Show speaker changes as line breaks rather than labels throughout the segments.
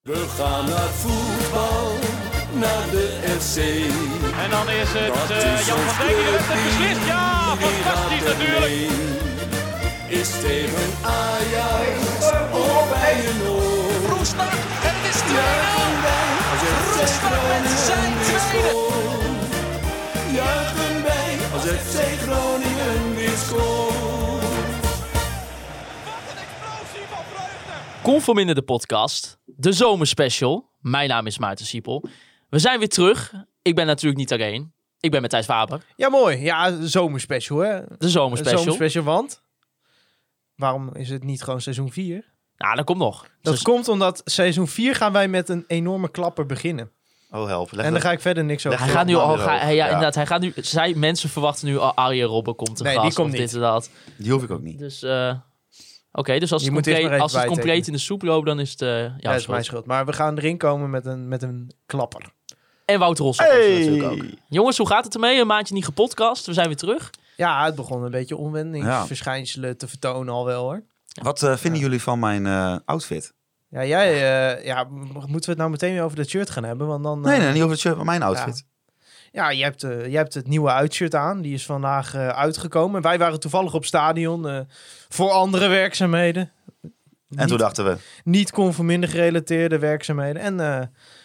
We gaan naar voetbal, naar de FC.
En dan is het
Dat
eh,
is
Jan
ons
van Dijk die de wedstrijd
clubteam.
beslist. Ja,
Iedereen
fantastisch
gaat
natuurlijk.
ermee. Is tegen Ajax of bij een oor.
Roestak en het is 2-0. Roestak met zijn tweede.
Juichen wij als FC Groningen weer scoort.
Conform in de podcast, de zomerspecial. Mijn naam is Maarten Siepel. We zijn weer terug. Ik ben natuurlijk niet alleen. Ik ben met Thijs Faber.
Ja, mooi. Ja, zomerspecial, hè?
De zomerspecial.
Zomerspecial, want... Waarom is het niet gewoon seizoen 4?
Nou, dat komt nog.
Dat
Dus-
komt omdat seizoen 4 gaan wij met een enorme klapper beginnen.
Oh, help. Leg
en daar
dat-
ga ik verder niks over
Leg
hij
Heel
gaat nu
man
al.
weer
ga-
ook.
hij, ja,
Ja.
inderdaad. Hij gaat nu. Zij, mensen verwachten nu al. Arjen Robben komt te
Nee,
gast.
die komt
of
niet.
dit en dat.
Die hoef ik ook niet.
Dus. eh, Oké, dus als
Je
het,
moet eerst
compleet,
maar even
als het compleet in
bijtekenen.
de soep loopt, dan is het. eh ja,
Ja, dat is mijn schuld. Maar we gaan erin komen met een, met een klapper.
En Wouter Rossum komt natuurlijk ook. Jongens, hoe gaat het ermee? Een maandje niet gepodcast. We zijn weer terug.
Ja, het begon een beetje onwendingsverschijnselen te vertonen al wel, hoor.
Wat eh, vinden jullie van mijn eh, outfit?
Ja, jij... eh, ja, m- moeten we het nou meteen weer over dat shirt gaan hebben? Want dan... eh,
Nee, nee, niet over het shirt, maar mijn outfit.
Ja, je hebt, eh, je hebt het nieuwe uitshirt aan. Die is vandaag eh, uitgekomen. Wij waren toevallig op stadion eh, voor andere werkzaamheden.
En
Niet-
toen dachten we,
Niet conforminder gerelateerde werkzaamheden. En eh,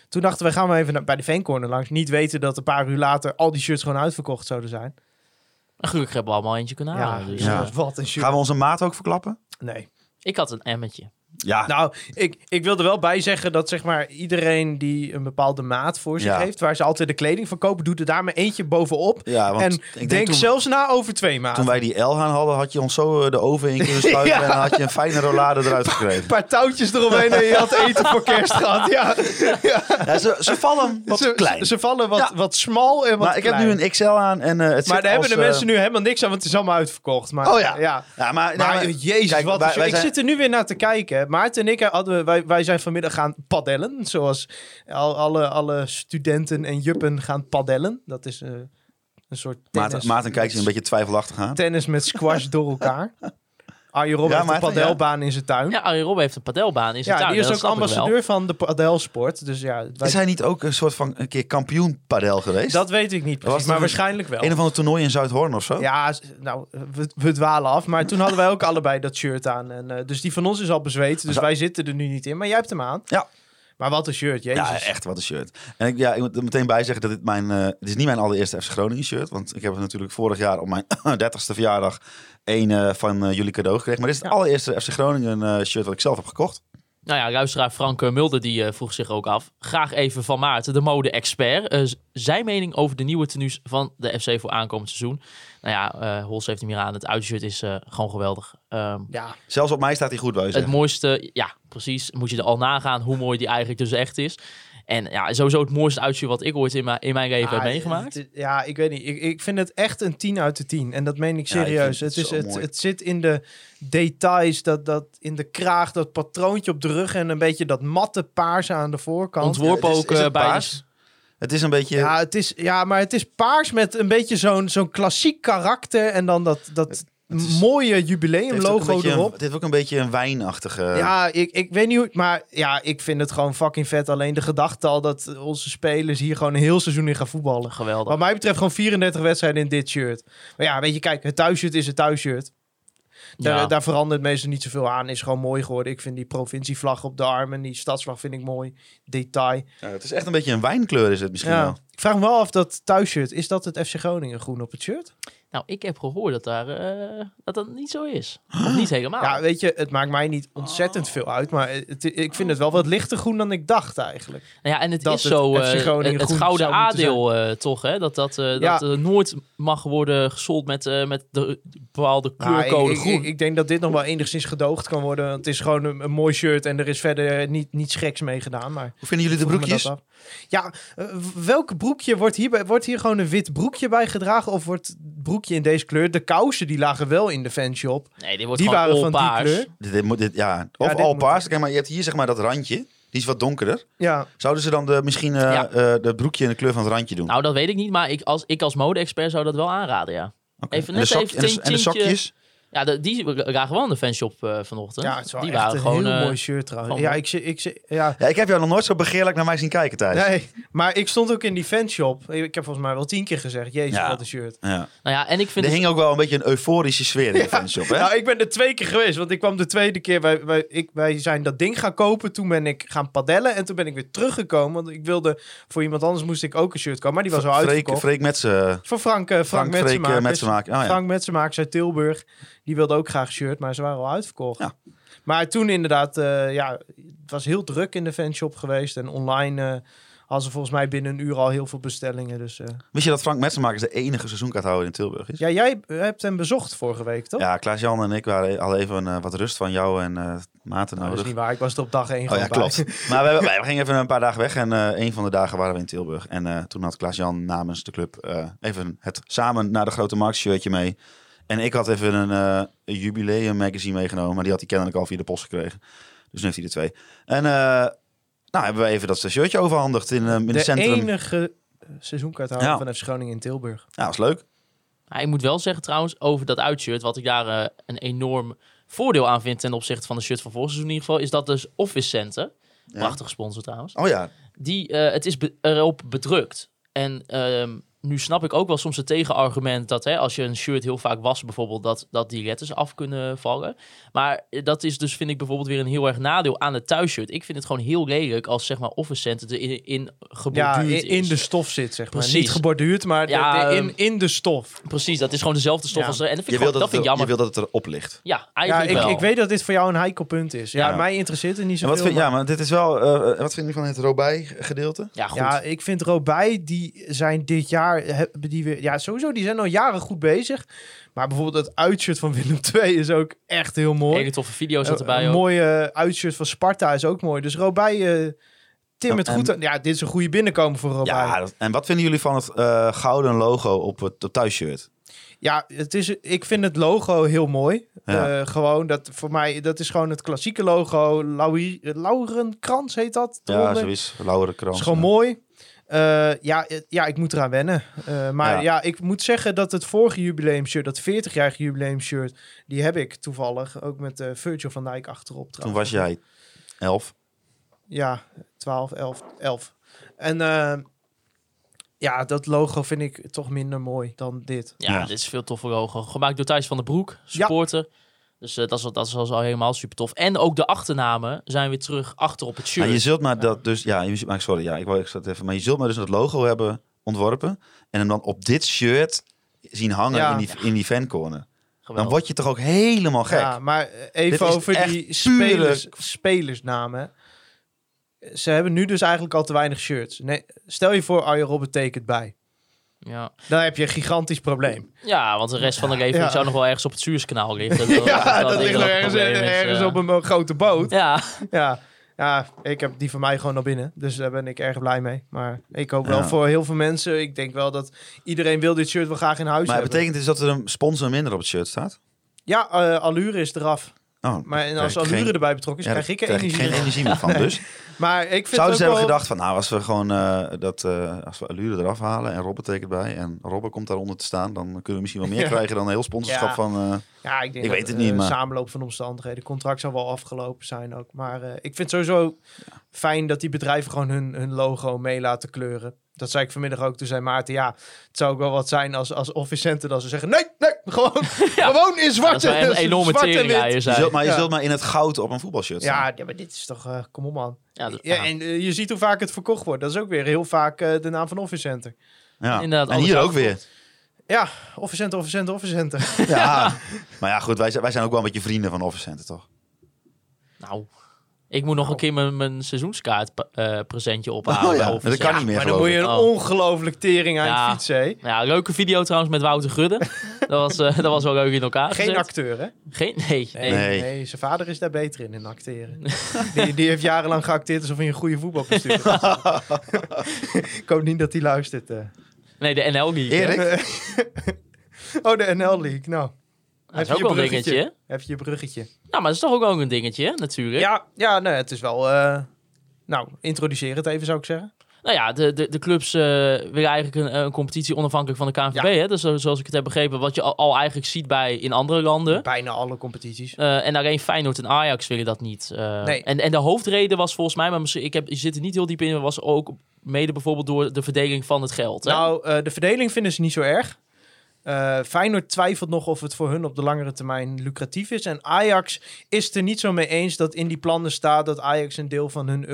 toen dachten we, gaan we even naar, bij de Veencorner langs. Niet weten dat een paar uur later al die shirts gewoon uitverkocht zouden zijn.
En gelukkig hebben we allemaal eentje kunnen halen. dus,
ja.
eh,
wat een shirt.
gaan we onze maat ook verklappen?
Nee.
Ik had een emmetje.
Ja,
Nou, ik, ik wil er wel bij zeggen dat zeg maar iedereen die een bepaalde maat voor zich
Ja.
heeft, waar ze altijd de kleding van kopen, doet er daar maar eentje bovenop.
ja want
en
ik denk,
denk,
toen,
zelfs na over twee
toen
maanden.
wij die L gaan hadden, had je ons zo eh, de oven in kunnen spuiten
Ja.
en dan had je een fijne rollade eruit gekregen.
paar touwtjes eromheen en je had eten voor kerst gehad. Ja.
Ja, ze, ze vallen wat
ze,
klein.
ze vallen wat,
Ja.
wat smal en wat
maar ik heb
klein.
nu een XL aan en eh, het
Maar
zit
daar hebben
als,
de
eh,
mensen nu helemaal niks aan, want het is allemaal uitverkocht. Maar,
Oh ja.
ja.
Ja, maar, nou,
Maar
maar-
jezus,
kijk,
wat
wij-
een show.
wij
Ik
zijn-
zit er nu weer naar te kijken. hè. Maarten en ik hadden, wij, wij zijn vanmiddag gaan paddelen. Zoals al, alle, alle studenten en juppen gaan paddelen. Dat is eh, een soort tennis.
Maarten, Maarten kijkt ze een beetje twijfelachtig aan.
Tennis met squash door elkaar. Arjen Rob
Ja,
heeft een
Maarten, ja.
padelbaan in zijn tuin.
Ja,
Ja,
Arjen Robben heeft een padelbaan in zijn tuin.
die is
dat
ook
snap ik wel.
ambassadeur van de padelsport. Dus ja, wij-
Is hij niet ook een soort van een keer kampioen padel geweest?
dat weet ik niet
was
precies,
toch
maar
een-
waarschijnlijk wel.
Een of ander toernooi in Zuidhoorn of zo?
Ja, s- nou, we, we dwalen af. Maar toen hadden wij ook allebei dat shirt aan. En, eh, dus die van ons is al bezweet. Dus
Zo-
wij zitten er nu niet in. Maar jij hebt hem aan.
Ja.
Maar wat een shirt, jezus.
Ja, echt wat een shirt. En ik, ja, ik moet er meteen bij zeggen dat dit mijn... eh, het is niet mijn allereerste FC Groningen shirt. Want ik heb het natuurlijk vorig jaar op mijn 30ste verjaardag één eh, van eh, jullie cadeau gekregen. Maar dit is het allereerste FC Groningen eh, shirt wat ik zelf heb gekocht.
Nou ja, luisteraar Frank eh, Mulder die eh, vroeg zich ook af. Graag even van Maarten, de mode-expert. eh, z- zijn mening over de nieuwe tenues van de FC voor aankomend seizoen. Nou ja, eh Hols heeft hem hier aan. Het uitshirt is eh, gewoon geweldig. Ehm,
Ja.
Zelfs op mij staat hij goed bij
het mooiste, ja precies, moet je er al nagaan hoe mooi die eigenlijk dus echt is. En ja, sowieso het mooiste uitshirt wat ik ooit in, mijn- in mijn leven
Ah,
heb meegemaakt.
het- ja, ik weet niet. Ik, ik vind het echt een 10 uit de 10. En dat meen ik
Ja, ik
serieus. het,
vind het
is,
zo
het,
mooi.
het zit in de details, dat, dat, in de kraag, dat patroontje op de rug en een beetje dat matte paarse aan de voorkant.
Ontworpen
Ja, het is-
ook
is
eh,
het
bij... de-
paars? Het is een beetje...
Ja, het is, ja, maar het is paars met een beetje zo'n zo'n klassiek karakter. En dan dat, dat
is-
mooie
het heeft ook een
jubileumlogo
beetje een-
erop.
Het heeft ook een beetje een wijnachtige...
Ja, ik, ik weet niet hoe... Maar ja, ik vind het gewoon fucking vet. Alleen de gedachte al dat onze spelers hier gewoon een heel seizoen in gaan voetballen.
Geweldig.
Wat mij betreft gewoon 34 wedstrijden in dit shirt. Maar ja, weet je, kijk, het thuisshirt is het thuisshirt. Daar,
Ja.
eh, daar verandert meestal niet zoveel aan. Is gewoon mooi geworden. Ik vind die provincievlag op de arm en die stadsvlag vind ik mooi. Detail.
Ja, het is echt een beetje een wijnkleur is het misschien
Ja.
wel.
Ik vraag me wel af dat thuisshirt, is dat het FC Groningen groen op het shirt?
Nou, ik heb gehoord dat daar, eh, dat, dat niet zo is. Of niet helemaal.
Ja, weet je, het maakt mij niet ontzettend veel uit. Maar het, ik vind het wel wat lichter groen dan ik dacht eigenlijk.
Nou ja, en het
dat
is
het
zo
FC
eh,
Groningen
het, het
groen
gouden
zou moeten
aandeel eh, toch, hè? Dat dat, eh,
Ja.
dat eh, nooit mag worden gesold met, eh, met de bepaalde
Nou, ik,
kleurcode
ik-
groen.
Ik, ik denk dat dit nog wel enigszins gedoogd kan worden. want het is gewoon een, een mooi shirt en er is verder niet, niets geks mee gedaan. Maar
Hoe vinden jullie de
vroeg me
broekjes?
dat af. Ja, eh, w- welk broekje wordt hier, bij- wordt hier gewoon een wit broekje bij gedragen? Of wordt het broekje in deze kleur? De kousen die lagen wel in de fanshop.
nee, dit wordt
die
gewoon
waren
all
van die
paars.
kleur.
Dit, dit moet, dit, ja. Of
Ja, dit
al
moet-
paars. Kijk, maar je hebt hier zeg maar dat randje. Die is wat donkerder.
Ja,
Zouden ze dan de, misschien eh
Ja.
eh, dat broekje in de kleur van het randje doen?
Nou, dat weet ik niet, maar ik als, ik als mode-expert zou dat wel aanraden, ja.
Oké.
even
en,
net
de sok-
even
en, de, en de
tintje-
sokjes?
Ja, de- die raken wel in de fanshop eh, vanochtend.
Ja, het is wel
die
echt
waren
een
gewoon
heel
eh,
mooi shirt trouwens.
van-
Ja, ik, zie- ik, zie- ja.
Ja, ik heb jou nog nooit zo begeerlijk naar mij zien kijken, Thijs.
Nee, maar ik stond ook in die fanshop. Ik heb volgens mij wel tien keer gezegd, jezus,
Ja.
wat een shirt.
Ja.
Nou ja, en ik vind
Er
het-
hing ook wel een beetje een euforische sfeer in de fanshop, hè?
Nou, ik ben er twee keer geweest, want ik kwam de tweede keer. Wij, wij, ik, wij zijn dat ding gaan kopen, toen ben ik gaan padellen en toen ben ik weer teruggekomen. Want ik wilde, voor iemand anders moest ik ook een shirt kopen, maar die was al
Freek,
uitverkocht.
Freek met z'n...
Voor Frank, eh, Frank,
Frank Freek, eh,
Metsenmakers.
Metsenmaker. Oh, ja.
Frank Metsenmakers uit Tilburg. Die wilde ook graag shirt, maar ze waren al uitverkocht.
Ja.
Maar toen inderdaad, eh, ja, het was heel druk in de fanshop geweest. En online eh hadden ze volgens mij binnen een uur al heel veel bestellingen. Dus, eh.
Wist je dat Frank Metsenmakers de enige seizoenkaarthouder in Tilburg is?
Ja, jij hebt hem bezocht vorige week, toch?
Ja, Klaas-Jan en ik waren al even eh, wat rust van jou en eh Maarten
Nou, dat is
nodig.
niet waar. Ik was er op dag één
Oh
gewoon
ja,
bij.
klopt. maar we, hebben- we gingen even een paar dagen weg en eh een van de dagen waren we in Tilburg. En eh, toen had Klaas-Jan namens de club eh, even het samen naar de Grote Markt shirtje mee. En ik had even een, eh, een jubileum magazine meegenomen, maar die had hij kennelijk al via de post gekregen. Dus nu heeft hij er twee. En eh, nou hebben we even dat shirtje overhandigd in, eh, in het
De
centrum.
enige eh, seizoenkaarthouder
Ja.
van FC Groningen in Tilburg.
Ja, was leuk.
Ja, Nou, ik moet wel zeggen trouwens, over dat uitshirt, wat ik daar eh, een enorm voordeel aan vind ten opzichte van de shirt van vorig seizoen in ieder geval, is dat dus Office Center, prachtige sponsor trouwens,
Oh ja,
die, eh, het is be- erop bedrukt. En ehm, nu snap ik ook wel soms het tegenargument dat hè, als je een shirt heel vaak wast bijvoorbeeld, dat, dat die letters af kunnen vallen. Maar eh, dat is dus, vind ik bijvoorbeeld weer een heel erg nadeel aan het thuisshirt. Ik vind het gewoon heel lelijk als zeg maar Office Center er in, in
Ja,
geborduurd
in, in
is.
de stof zit, zeg maar.
Precies.
Niet geborduurd, maar de-
Ja,
de-
ehm,
in, in de stof.
Precies, dat is gewoon dezelfde stof
Ja.
als er. En dat vind
je
ik,
wil
gewoon, dat
dat,
vind ik
het,
jammer.
je wil dat het erop ligt.
Ja,
Ja,
eigenlijk
ik,
wel.
ik weet dat dit voor jou een heikel punt is. Ja,
Ja.
mij interesseert het niet
En
zo
wat vind,
veel.
ja, maar dit is wel, eh, wat vind je van het robij gedeelte?
Ja, goed.
Ja, ik vind Robij, die zijn dit jaar, hebben die weer, ja sowieso, die zijn al jaren goed bezig. Maar bijvoorbeeld dat uitshirt van Willem II is ook echt heel mooi.
Hele toffe video zat
Een-
erbij
een
ook.
mooie uitshirt van Sparta is ook mooi. Dus Robij, eh Tim het
Ja,
goed. aan- Ja, dit is een goede binnenkomen voor Robij.
Ja,
Ja,
dat- en wat vinden jullie van het eh, gouden logo op het op thuisshirt?
het is, ik vind het logo heel mooi.
Ja.
Eh, gewoon, dat voor mij, dat is gewoon het klassieke logo. Lauri- Laurenkrans heet dat.
Ja,
eronder.
zoiets. Lauwere krant.
is gewoon mooi. Eh, ja, eh, ja, ik moet eraan wennen. Eh, maar
Ja.
ja. ik moet zeggen dat het vorige jubileumshirt, dat 40-jarige jubileumshirt, die heb ik toevallig ook met eh, Virgil van Dijk achterop.
Toen
trouwens.
was jij elf.
Ja, 12, 11, 11. En eh, ja, dat logo vind ik toch minder mooi dan dit.
Ja,
Ja.
dit is veel toffer logo. Gemaakt door Thijs van den Broek, supporter. Dus eh, dat, is, al- dat is al al helemaal super tof. En ook de achternamen zijn weer terug achter op het shirt.
Maar je zult maar dat dus... Ja, je, maar sorry, ja, ik wou ik zat even... Maar je zult maar dus dat logo hebben ontworpen... en hem dan op dit shirt zien hangen
Ja.
in, die, in die fancorner. Dan
Geweldig.
word je toch ook helemaal gek?
Ja, maar eh,
Dit
even
is
over
echt
die
pure-
spelers, spelersnamen. Ze hebben nu dus eigenlijk al te weinig shirts. Nee, stel je voor Arjen Robben tekent bij.
ja.
Dan heb je een gigantisch probleem.
ja, want de rest van de leven
Ja.
zou nog wel ergens op het Zuurskanaal liggen. Dat-
Ja, dat,
denk ik
ligt
wel
nog
een
ergens,
probleem is,
ergens
ja.
op een eh, grote boot.
Ja,
Ja. ja, ik heb die van mij gewoon al binnen. Dus daar ben ik erg blij mee. Maar ik hoop wel
Ja.
voor heel veel mensen. Ik denk wel dat iedereen wil dit shirt wel graag in huis
maar
hebben.
het betekent dus dat er een sponsor minder op het shirt staat?
Ja, eh, allure is eraf.
Oh,
Maar en als
krijg ik
allure
geen-
erbij betrokken is,
ja,
krijg ik er
krijg
energie.
geen
van.
energie meer van. Dus
Maar ik vind
zouden ze
het ook
hebben
wel-
gedacht van... nou, als we gewoon eh, dat... eh, als we allure eraf halen en Robben tekent bij... en Robben komt daaronder te staan... dan kunnen we misschien wel meer
Ja.
krijgen... dan een heel sponsorschap
Ja.
van... eh,
Ja, ik denk
Ik
dat,
weet het niet,
eh,
maar-
samenloop van omstandigheden. Contract zal wel afgelopen zijn ook. Maar eh, ik vind sowieso fijn dat die bedrijven gewoon hun, hun logo mee laten kleuren. Dat zei ik vanmiddag ook. Toen zei Maarten, ja, het zou ook wel wat zijn als, als officenten dan ze zeggen... Nee, nee, gewoon, gewoon in
dat is
zwart.
wel echt een
en-
enorme
zwart en wit.
teringleier
Je
zijn.
zult, maar je
Ja.
zult maar in het goud op een voetbalshirt staan.
Ja, ja, maar dit is toch... eh, kom op, man.
Ja, dat- ah,
Ja,
ja.
en eh, je ziet hoe vaak het verkocht wordt. Dat is ook weer heel vaak eh, de naam van officenten.
Ja.
inderdaad,
en hier
alles
ook weer.
Ja, officenten, officenten, officenten.
Ja. maar ja, goed, wij zijn, wij zijn ook wel een beetje vrienden van Office Center, toch?
Nou, ik moet
Oh.
nog een keer mijn, mijn seizoenskaart eh, presentje ophalen.
Oh ja,
bij Office.
dat kan niet meer,
maar dan
geloof
moet je
ik.
een
Oh.
ongelooflijk tering aan
Ja.
je fiets, hè?
Ja, leuke video trouwens met Wouter Gudde. dat, was, eh, dat was wel leuk in elkaar
Geen
gezet.
acteur, hè?
Geen, nee, nee.
Nee,
Nee.
nee. zijn vader is daar beter in, in acteren. die, die heeft jarenlang geacteerd alsof hij een goede voetbalbestuurder was. Ik hoop niet dat hij luistert. eh.
Nee, de NL League. hè?
Erik?
Oh, de NL League. Nou,
Dat is ook
Heb je
wel een
bruggetje?
dingetje. hè?
heb je je bruggetje.
Nou, maar dat is toch ook, ook een dingetje, hè, natuurlijk.
Ja, ja nee, het is wel... eh, Nou, introduceer het even, zou ik zeggen.
Nou ja, de, de, de clubs eh, willen eigenlijk een, een competitie onafhankelijk van de KNVB. Hè? Dus zo- zoals ik het heb begrepen, wat je al, al eigenlijk ziet bij in andere landen.
Bijna alle competities.
Eh, en alleen Feyenoord en Ajax willen dat niet. Eh,
Nee.
en, en de hoofdreden was volgens mij, maar misschien, ik heb, ik zit er niet heel diep in, maar was ook mede bijvoorbeeld door de verdeling van het geld. Hè?
Nou, eh, de verdeling vinden ze niet zo erg. Eh Feyenoord twijfelt nog of het voor hun op de langere termijn lucratief is. En Ajax is het er niet zo mee eens dat in die plannen staat dat Ajax een deel van hun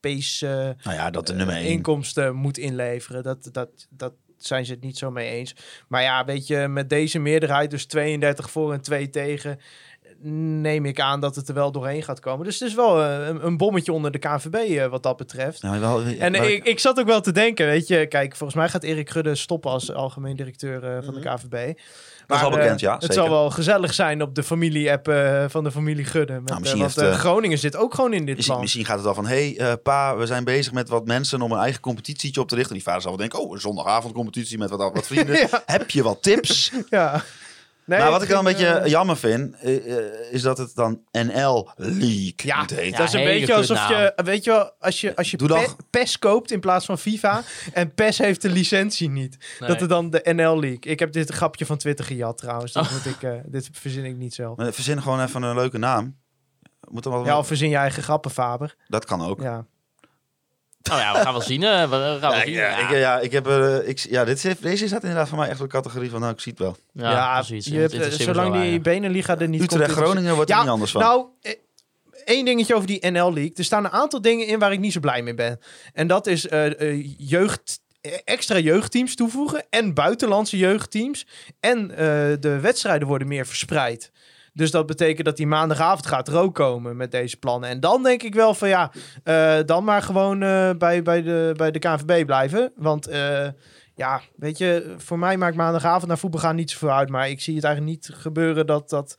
Europese
Nou ja, dat de
eh,
nummer één.
inkomsten moet inleveren. Dat, dat, dat zijn ze het niet zo mee eens. Maar ja, weet je, met deze meerderheid, dus 32 voor en 2 tegen, neem ik aan dat het er wel doorheen gaat komen. Dus het is wel eh, een, een bommetje onder de KVB eh, wat dat betreft.
Nou, wel,
En
wel-
ik, ik zat ook wel te denken, weet je, kijk, volgens mij gaat Erik Gudde stoppen als algemeen directeur eh, van de KVB.
Mhm. is wel
eh,
bekend, ja,
Het
zeker.
zal wel gezellig zijn op de familie-app eh, van de familie Gudde. Met,
Nou,
eh,
misschien
want
heeft,
eh,
eh,
Groningen zit ook gewoon in dit
Misschien,
plan.
misschien gaat het al van, hé hey, eh, pa, we zijn bezig met wat mensen om een eigen competitietje op te richten. Die vader zal wel denken, oh, een zondagavondcompetitie met wat, wat vrienden.
Ja.
Heb je wat tips?
Ja. Nee,
maar wat ik
het
dan een
ging,
beetje
eh,
jammer vind, eh, eh, is dat het dan NL League
Ja,
moet heten.
dat is een
hele
beetje alsof
kutnaam.
je, weet je wel, als je, als je
Doe dan-
pe- PES koopt in plaats van FIFA en PES heeft de licentie niet.
Nee.
Dat er dan de NL League. Ik heb dit grapje van Twitter gejat trouwens,
Oh.
dat moet ik, eh, dit verzin ik niet zelf.
Maar Eh, Verzin gewoon even een leuke naam. Moet dan wel
Ja, of verzin je eigen grappen, Faber.
Dat kan ook.
Ja.
Nou ja, we gaan wel zien. eh, we gaan wel
Ja,
zien.
ja, ik, ja, ik heb, eh, ik, ja dit is, deze staat inderdaad voor mij echt wel de categorie van, nou, ik zie het wel.
Ja, precies.
Je
Het
hebt, eh,
interesseert me
zolang
zo
die
weinig.
Beneliga er niet komt, interesseert-
Utrecht-Groningen wordt er
Ja,
niet anders van.
Nou, eh, één dingetje over die NL League. Er staan een aantal dingen in waar ik niet zo blij mee ben. En dat is eh, eh, jeugd, eh, extra jeugdteams toevoegen en buitenlandse jeugdteams. En eh, de wedstrijden worden meer verspreid. Dus dat betekent dat die maandagavond gaat er ook komen met deze plannen. En dan denk ik wel van ja, eh, dan maar gewoon eh, bij, bij, de, bij de KNVB blijven. Want eh, ja, weet je, voor mij maakt maandagavond naar voetbal gaan niet zoveel uit. Maar ik zie het eigenlijk niet gebeuren dat dat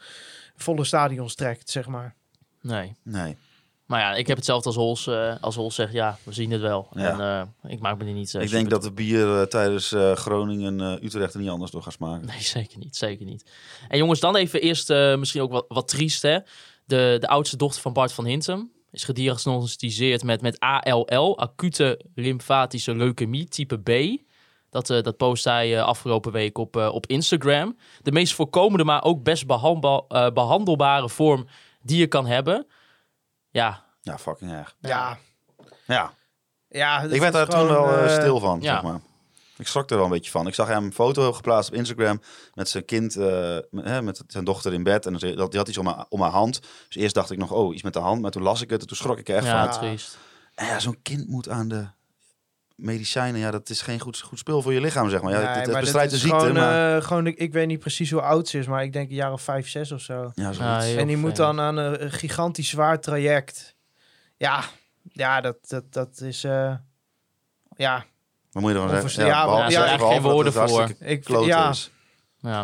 volle stadions trekt, zeg maar.
Nee.
nee.
Maar ja, ik heb hetzelfde als Hols. eh, als Hols zegt, ja, we zien het wel.
Ja.
En eh, ik maak me er niet... eh,
ik denk
super-
dat de bier eh, tijdens eh, Groningen eh, Utrecht er niet anders door gaat smaken.
Nee, zeker niet. Zeker niet. En jongens, dan even eerst eh, misschien ook wat, wat triest, hè. De, de oudste dochter van Bart van Hintem is gediagnosticeerd met, met ALL, acute lymfatische leukemie, type B. Dat, eh, dat post hij eh, afgelopen week op, eh, op Instagram. De meest voorkomende, maar ook best behandel- eh, behandelbare vorm die je kan hebben. Ja,
Ja, fucking erg.
Ja,
Ja,
ja.
ik werd daar toen wel eh, stil van,
ja.
zeg maar. Ik schrok er wel een beetje van. Ik zag hem een foto geplaatst op Instagram met zijn kind, eh, met, hè, met zijn dochter in bed. En dan zei- dat- die had iets om haar, om haar hand. Dus eerst dacht ik nog, oh, iets met de hand. Maar toen las ik het en toen schrok ik er echt
ja
van.
triest.
En ja, zo'n kind moet aan de medicijnen. Ja, dat is geen goed, goed spul voor je lichaam, zeg maar. Ja,
Nee,
het- het,
maar
bestrijdt de
dit is
ziekte,
Gewoon,
maar...
eh, gewoon, ik, ik weet niet precies hoe oud ze is, maar ik denk een jaar of vijf, zes of zo.
ja, zoiets.
Ja, heel
en die
fijn.
moet dan aan een een gigantisch zwaar traject. Ja, ja dat, dat, dat is... eh, ja,
Wat moet je dan zeggen?
Onversta- ja,
behalve-
ja, daar heb
ik geen
behalve
woorden
dat het hartstikke
voor.
ik,
klote
ja,
is.
Ja.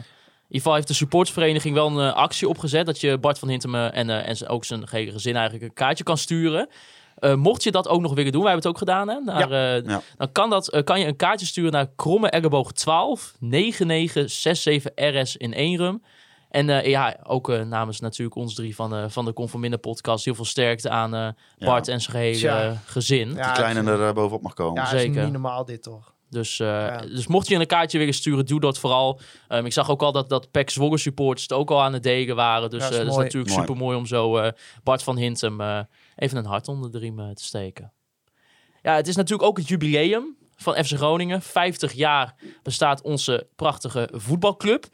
In ieder geval heeft de supportsvereniging wel een eh, actie opgezet dat je Bart van Hintemen en, eh, en z- ook zijn hele gezin eigenlijk een kaartje kan sturen. Eh, mocht je dat ook nog willen doen, wij hebben het ook gedaan, hè? Naar, eh,
Ja.
dan kan, dat, eh, kan je een kaartje sturen naar Kromme Erreboog 12 9967 RS in Eenrum. En eh, ja, ook eh, namens natuurlijk ons drie van, de van de Conforminder podcast heel veel sterkte aan eh, Bart en zijn hele
Tja.
eh, gezin.
ja,
Die kleine er eh, bovenop mag komen.
ja, het is
Zeker.
niet normaal dit toch.
Dus, eh,
Ja.
dus mocht je een kaartje willen sturen, doe dat vooral. Ehm, ik zag ook al dat, dat PEC Zwolle supporters het ook al aan het degen waren. Dus
Ja,
eh,
is
dat is,
mooi.
natuurlijk
Mooi.
super mooi om zo eh, Bart van Hintem eh, even een hart onder de riem eh, te steken. Ja, het is natuurlijk ook het jubileum van FC Groningen. 50 jaar bestaat onze prachtige voetbalclub.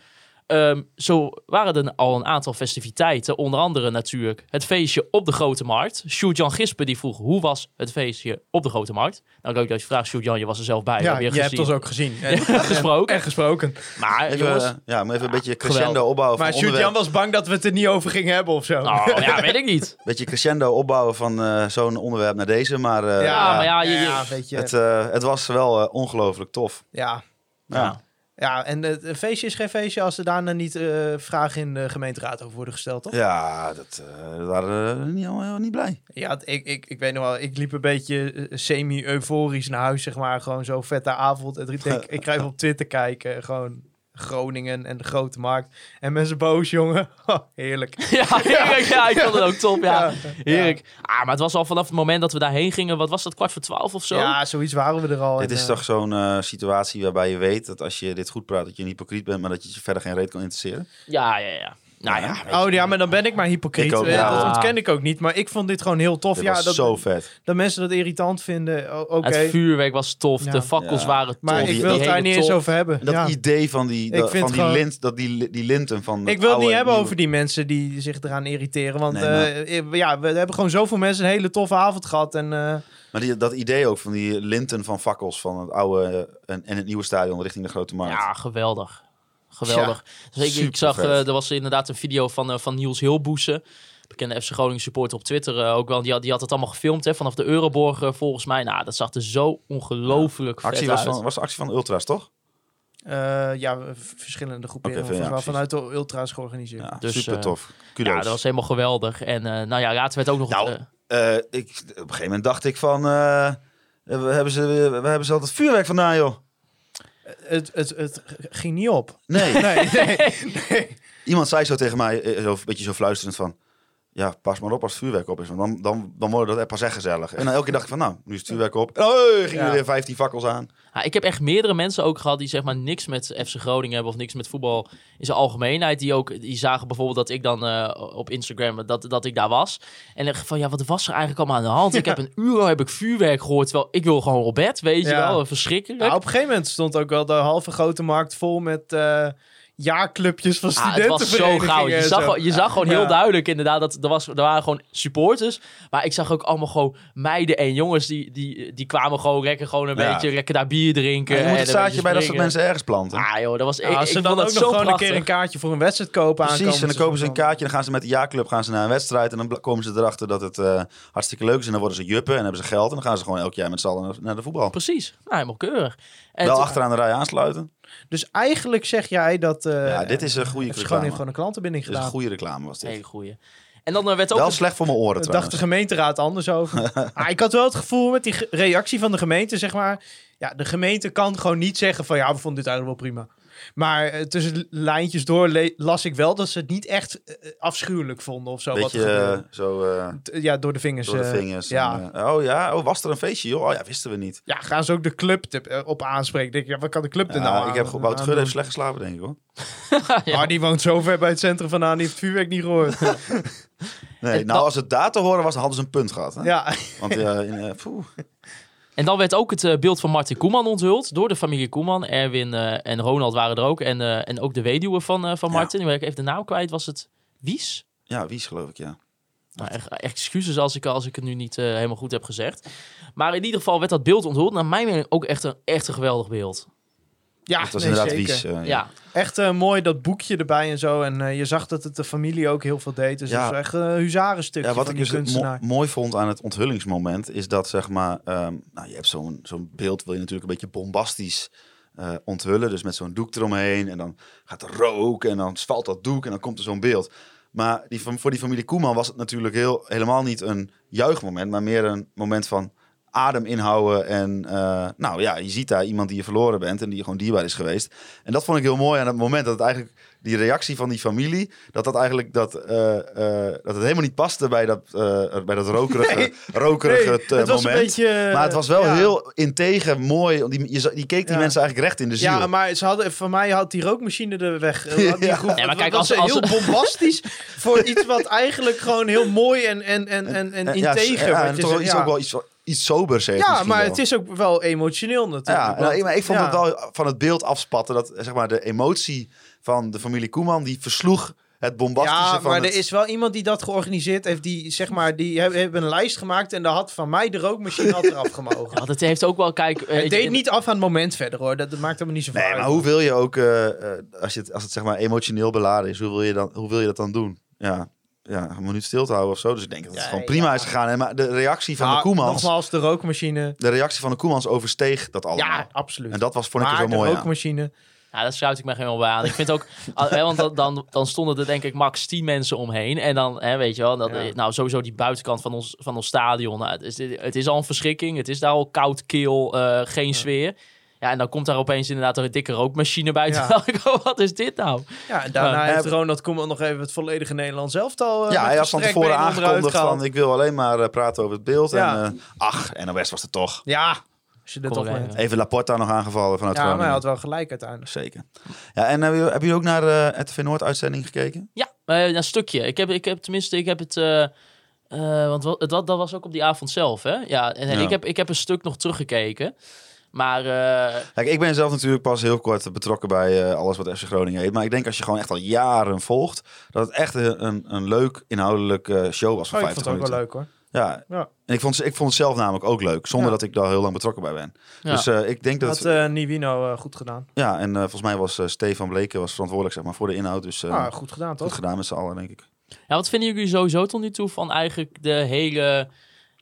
Ehm, zo waren er al een aantal festiviteiten. Onder andere natuurlijk het feestje op de Grote Markt. Sjoerd-Jan Gispen die vroeg hoe was het feestje op de Grote Markt. Nou, leuk dat je vraagt, Sjoerd-Jan, je was er zelf bij.
ja,
heb
je
gezien.
hebt ons ook gezien. En,
gesproken.
En gesproken.
Maar
Even,
jongens,
eh, ja, maar even een beetje crescendo
geweldig.
opbouwen van
Maar Sjoerd-Jan
onderwerp.
was bang dat we het er niet over gingen hebben of zo.
eh,
nou ja, weet ik niet.
beetje crescendo opbouwen van eh, zo'n onderwerp naar deze. Maar, eh,
Ja, maar ja, je- je-
ja, weet je.
Het, eh, het was wel eh, ongelooflijk tof.
ja.
Ja.
Ja, en het een feestje is geen feestje als er daarna niet eh, vragen in de gemeenteraad over worden gesteld, toch? Ja,
Ja, dat eh, we waren eh, niet, allemaal niet blij.
ik, ik, ik weet nog wel, ik liep een beetje eh, semi-euforisch naar huis, zeg maar. Gewoon zo vette avond. En ik denk, ik ga even op Twitter kijken. Gewoon Groningen en de grote markt. En mensen boos, jongen. Oh, heerlijk.
Ja, heerlijk. Ja, ik vond het ook top. Ja,
Ja.
heerlijk. Ah, maar het was al vanaf het moment dat we daarheen gingen. Wat was dat? Kwart voor twaalf of zo?
Ja, zoiets waren we er al.
Dit
En,
is
eh,
toch zo'n eh, situatie waarbij je weet dat als je dit goed praat, dat je een hypocriet bent, maar dat je je verder geen reet kan interesseren.
ja, ja. ja. Nou ja, weet je.
Oh ja, maar dan ben ik maar hypocriet.
Ik ook,
Eh,
ja.
Dat ontken ik ook niet. Maar ik vond dit gewoon heel tof.
Dit
ja,
was
dat,
zo vet.
dat mensen dat irritant vinden. o- Oké.
Het vuurwerk was tof.
Ja.
De fakkels
Ja.
waren tof.
Maar
die-
ik wil het
die
daar
hele
niet eens
top.
over hebben.
En dat
Ja.
idee van die,
Ik
dat,
vind
van die,
gewoon-
lint, dat die, die linten van.
Ik wil het niet hebben over die mensen die zich eraan irriteren. Want
Nee, maar-
eh, eh, ja, we hebben gewoon zoveel mensen een hele toffe avond gehad. En eh,
Maar die, dat idee ook van die linten van fakkels van het oude eh, en, en het nieuwe stadion richting de grote markt.
Ja, geweldig. Geweldig. Dus ik- ik,
supervet.
zag, eh, er was inderdaad een video van, eh, van Niels Hilboesen. Bekende FC Groningen supporter op Twitter eh, ook wel. Die had, die had het allemaal gefilmd hè, vanaf de Euroborg eh, volgens mij. Nou, dat zag er zo ongelooflijk vet
actie was,
uit.
van, was de actie van de Ultras, toch?
eh, ja, v- verschillende groepen
Oké, ja, precies.
vanuit de ultra's georganiseerd.
Ja,
Dus,
super tof.
ja, dat was helemaal geweldig. En eh, nou ja, later werd ook nog...
Nou,
eh,
ik, op een gegeven moment dacht ik van. eh, we hebben ze, we hebben ze al het vuurwerk vandaan, joh.
Het, het, het ging niet op.
Nee.
Nee, nee.
Iemand zei zo tegen mij, eh, zo, een beetje zo fluisterend van... Ja, pas maar op als het vuurwerk op is, want dan, dan, dan wordt dat pas echt gezellig. En dan elke keer dacht ik van, nou, nu is het vuurwerk op. En, oh, gingen
Ja.
er weer 15 fakkels aan.
Ja, ik heb echt meerdere mensen ook gehad die zeg maar niks met FC Groningen hebben of niks met voetbal in zijn algemeenheid. Die ook die zagen bijvoorbeeld dat ik dan eh, op Instagram dat, dat ik daar was. En dan van ja, wat was er eigenlijk allemaal aan de hand? Ik heb een uur al heb ik vuurwerk gehoord. Terwijl ik wil gewoon op bed, weet je
Ja.
wel. Verschrikkelijk.
Nou, op een gegeven moment stond ook wel de halve grote markt vol met eh, jaarclubjes van
Ah,
studenten.
het was zo gauw. Je zag, gewoon- je zag gewoon heel
Ja.
duidelijk inderdaad dat er, was, er waren gewoon supporters. Maar ik zag ook allemaal gewoon meiden en jongens die, die, die kwamen gewoon lekker, gewoon een
Ja.
beetje lekker daar bier drinken.
je
en
moet het
een
zaadje
beetje
bij dat soort
springen.
mensen ergens planten.
Ah joh, dat was, ik,
Ja, Nou, als ze
ik
dan
vond
ook
het
nog
zo
gewoon
prachtig.
een keer een kaartje voor een wedstrijd kopen
Precies, en
aankomend
dan kopen ze een
seizoen.
kaartje, dan gaan ze met de jaarclub gaan ze naar een wedstrijd... en dan bla- komen ze erachter dat het eh, hartstikke leuk is... en dan worden ze juppen en hebben ze geld... en dan gaan ze gewoon elk jaar met z'n allen naar- naar de voetbal.
Precies. Nou, helemaal keurig. En
Wel
toen-
achteraan de rij aansluiten.
Dus eigenlijk zeg jij dat... eh
Ja, dit is een goede
heeft Groningen
reclame.
gewoon een klantenbinding
Dit is een
gedaan.
goede reclame, was dit.
Hele goeie. En dan eh, werd ook...
Wel
een-
slecht voor mijn oren,
Daar dacht de
trouwens.
gemeenteraad anders over. ah, ik had wel het gevoel met die ge- reactie van de gemeente, zeg maar. Ja, de gemeente kan gewoon niet zeggen van ja, we vonden dit eigenlijk wel prima. Maar eh, tussen de lijntjes door le- las ik wel dat ze het niet echt eh, afschuwelijk vonden of zo. wat er
Beetje eh,
gebeurde.
zo... eh,
T- ja, door de vingers.
Door de
eh,
vingers.
ja.
En, eh, oh ja, oh, was er een feestje, joh? Oh ja, wisten we niet.
ja, gaan ze ook de club te- eh, op aanspreken. Denk ik, ja, wat kan de club er
Ja,
nou aan?
ik heb gewoon-
aan
Wout Gudde
doen?
heeft slecht geslapen, denk ik hoor.
Ah, die woont zo ver bij het centrum vandaan, die heeft het vuurwerk niet gehoord.
Nee, nou,
dat-
als het daar te horen was, dan hadden ze een punt gehad. Hè?
Eh, ja,
Want eh, in, eh, poeh.
En dan werd ook het eh, beeld van Martin Koeman onthuld door de familie Koeman. Erwin eh, en Ronald waren er ook. En, eh, en ook de weduwe van, eh, van
Ja.
Martin. Nu ben ik even de naam kwijt. Was het Wies?
ja, wie is geloof ik,
Ah,
ja.
Nou, echt- excuses als ik, als ik het nu niet eh, helemaal goed heb gezegd. Maar in ieder geval werd dat beeld onthuld. Naar mijn mening ook echt een, echt een geweldig beeld.
ja
het was
nee,
inderdaad
zeker.
Wies. eh,
Ja,
ja.
Echt eh, mooi dat boekje erbij en zo. En eh, je zag dat het de familie ook heel veel deed. Dus
Ja.
het is echt een huzarenstukje
Ja, wat
van
ik
die
dus mo-
kunstenaar.
mooi vond aan het onthullingsmoment is dat, zeg maar, ehm, nou, je hebt zo'n zo'n beeld, wil je natuurlijk een beetje bombastisch eh, onthullen. Dus met zo'n doek eromheen en dan gaat er rook en dan valt dat doek en dan komt er zo'n beeld. Maar die, fam- voor die familie Koeman was het natuurlijk heel, helemaal niet een juichmoment, maar meer een moment van adem inhouden. En eh, nou ja, je ziet daar iemand die je verloren bent en die je gewoon dierbaar is geweest. En dat vond ik heel mooi aan het moment dat het eigenlijk die reactie van die familie, dat dat eigenlijk dat, eh, eh, dat het helemaal niet paste bij dat, eh, bij dat rokerige,
Nee.
rokerige
Nee,
eh,
het was
moment.
een beetje... eh,
maar het was wel
ja.
heel integer, mooi. want Die, je, za- die keek die
Ja.
mensen eigenlijk recht in de ziel.
Ja, maar ze hadden, voor mij had die rookmachine de weg. eh, had Die
Ja.
groep,
Ja, maar kijk,
dat
als-
was
als-
heel bombastisch voor iets wat eigenlijk gewoon heel mooi en, en, en, en, en
Eh, ja,
integer.
Ja,
wat
en
je zegt,
toch wel iets,
ja.
ook wel iets, iets sobers heeft
ja,
misschien
maar
wel.
het is ook wel emotioneel natuurlijk.
Ja, nou, ik, maar ik vond
het
het wel van het beeld afspatten. Dat zeg maar, de emotie van de familie Koeman die versloeg het bombastische
Ja,
van
maar
het...
er is wel iemand die dat georganiseerd heeft. Die, zeg maar, die heb- hebben een lijst gemaakt en daar had van mij de rookmachine had eraf gemogen.
Want het heeft ook wel, kijk... eh,
Het
je-
deed niet af aan het moment verder hoor. Dat, dat maakt helemaal niet zoveel
Nee,
uit.
maar hoe wil je ook, eh, eh, als, je het, als het zeg maar emotioneel beladen is, hoe wil je, dan, hoe wil je dat dan doen? Ja, ja, een minuut stil te houden of zo. Dus ik denk dat het
Ja,
gewoon
ja.
prima is gegaan. En Maar de reactie van
Ja,
de Koemans,
Nogmaals, de rookmachine.
de reactie van de Koemans oversteeg dat allemaal.
Ja, absoluut.
Oh, nou. En dat was, vond ik
maar
er zo mooi
de
aan.
rookmachine.
Ja, daar Nou, sluit ik me helemaal bij aan. Ik vind ook, al- hè, want dan, dan, dan stonden er denk ik max 10 mensen omheen. En dan, hè, weet je wel, dat,
Ja.
eh, nou sowieso die buitenkant van ons, van ons stadion. Nou, het, is, het is al een verschrikking. Het is daar al koud, kil, eh, geen sfeer. Ja, en dan komt daar opeens inderdaad een dikke rookmachine bij.
Ja.
Terwijl ik, oh, wat is dit nou?
Ja, en daarna
Ja.
heeft Ronald Koeman nog even het volledige Nederlands elftal eh
ja,
met
hij had van
gestrekt
tevoren
been onderuit
aangekondigd
gehaald.
van ik wil alleen maar eh, praten over het beeld.
Ja.
En, eh ach, NOS was het toch.
Ja, als je er
Kom er
toch bent.
even.
Even Laporta nog aangevallen vanuit
Ja, maar hij
Groningen.
had wel gelijk uiteindelijk.
Zeker. Ja, en hebben jullie, hebben jullie ook naar eh, RTV Noord uitzending gekeken?
Ja, eh, een stukje. Ik heb, ik heb tenminste, ik heb het. eh, eh, want wat, dat, dat was ook op die avond zelf, hè? Ja, en en
Ja.
Ik, heb, ik heb een stuk nog teruggekeken. Maar eh,
Kijk, ik ben zelf natuurlijk pas heel kort betrokken bij eh, alles wat FC Groningen heet. Maar ik denk als je gewoon echt al jaren volgt, dat het echt een, een, een leuk inhoudelijk eh, show was van
Oh, ik vond het ook
50
wel
minuten.
leuk hoor.
Ja.
Ja.
En ik vond, ze- ik vond het zelf namelijk ook leuk, zonder
Ja.
dat ik daar heel lang betrokken bij ben.
Ja.
Dus eh, ik denk dat...
Had eh Nivino eh, goed gedaan.
Ja, en eh, volgens mij was eh, Stefan Bleken was verantwoordelijk zeg maar, voor de inhoud. Dus eh,
Ah, goed gedaan
goed
toch?
gedaan met z'n allen, denk ik.
ja, wat vinden jullie sowieso tot nu toe van eigenlijk de hele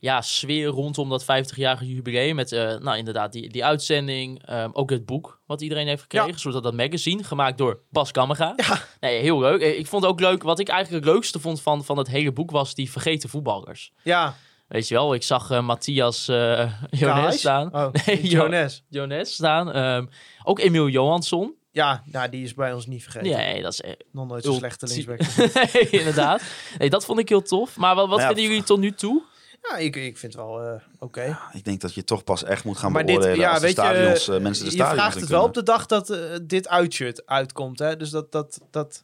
ja, sfeer rondom dat 50-jarige jubileum? Met eh, nou inderdaad, die, die uitzending. ehm, ook het boek wat iedereen heeft gekregen.
Ja.
Zoals dat, dat magazine, gemaakt door Bas Kammerga. Nee, heel leuk. Eh, Ik vond ook leuk. Wat ik eigenlijk het leukste vond van, van het hele boek was die vergeten voetballers.
Ja,
Weet je wel, ik zag eh, Matthias eh Jones
Kaais?
staan.
Oh,
Nee, Jo-
Jones.
Jones staan. Ehm, ook Emiel Johansson.
Ja, nou, die is bij ons niet vergeten.
Nee, dat is echt...
Nog nooit zo'n
Ul-
slechte
zie-
linksback.
Nee, inderdaad. Nee, dat vond ik heel tof. Maar wat,
Nou
wat
Ja,
vinden jullie tot nu toe?
Ja, ik, ik vind het wel eh, oké.
Ik denk dat je toch pas echt moet gaan
Maar dit,
beoordelen
ja,
als de
weet je,
stadions, eh, mensen de
je
stadions
vraagt
in
het wel op
kunnen.
de dag dat eh, dit uitshirt uitkomt. Hè? Dus dat, dat, dat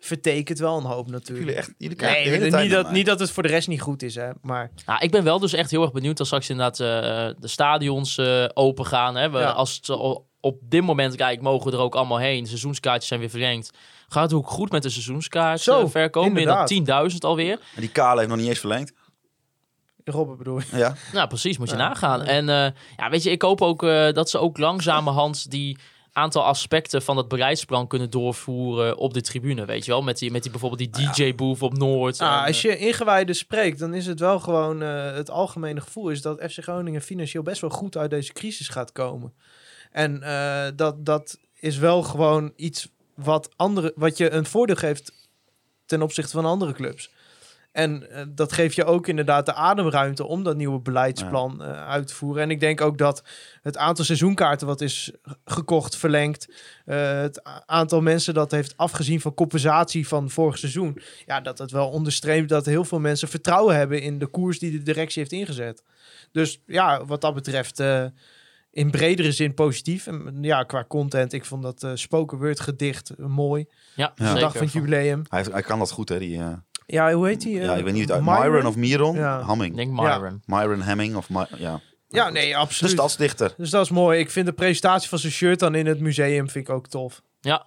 vertekent wel een hoop natuurlijk.
Jullie echt, jullie kijken de
Nee,
hele tijd
niet
naar
dat,
mij.
niet dat het voor de rest niet goed is, hè. Maar
Nou, ik ben wel dus echt heel erg benieuwd als straks inderdaad eh, de stadions eh open gaan. Hè. We,
Ja.
Als het al- op dit moment, kijk, mogen we er ook allemaal heen. Seizoenskaartjes zijn weer verlengd. Gaat het ook goed met de seizoenskaart
Zo,
eh, verkoop?
inderdaad.
Meer dan 10.000 alweer.
En die Kale heeft nog niet eens verlengd.
Robben bedoel je?
Ja.
Nou, precies, moet je nagaan. En eh, ja, weet je, ik hoop ook eh, dat ze ook langzamerhand die aantal aspecten van dat beleidsplan kunnen doorvoeren op de tribune, weet je wel? Met die, met die bijvoorbeeld die DJ-booth op Noord. en,
Ah, als
eh,
je ingewijden spreekt, dan is het wel gewoon eh, het algemene gevoel is dat FC Groningen financieel best wel goed uit deze crisis gaat komen. En eh, dat, dat is wel gewoon iets wat, andere, wat je een voordeel geeft ten opzichte van andere clubs. En eh, dat geeft je ook inderdaad de ademruimte om dat nieuwe beleidsplan eh, uit te voeren. En ik denk ook dat het aantal seizoenkaarten wat is gekocht, verlengd, eh, het a- aantal mensen dat heeft afgezien van compensatie van vorig seizoen, ja, dat het wel onderstreept dat heel veel mensen vertrouwen hebben in de koers die de directie heeft ingezet. Dus ja, wat dat betreft, eh, in bredere zin positief. En mm, ja, qua content, ik vond dat eh, spoken word gedicht eh, mooi.
ja,
Ja.
De
zeker.
dag van het jubileum.
Hij, heeft- hij kan dat goed, hè? Die, eh,
Ja, hoe heet die? eh,
ja, ik weet niet, uit
Myron?
Myron, of Miron?
Ja.
Ik
Hamming.
denk Myron.
Myron Hemming of... My, ja,
Ja, nee,
de
absoluut. Dus dat...
stadsdichter.
is mooi. Ik vind de presentatie van zijn shirt dan in het museum vind ik ook tof.
Ja.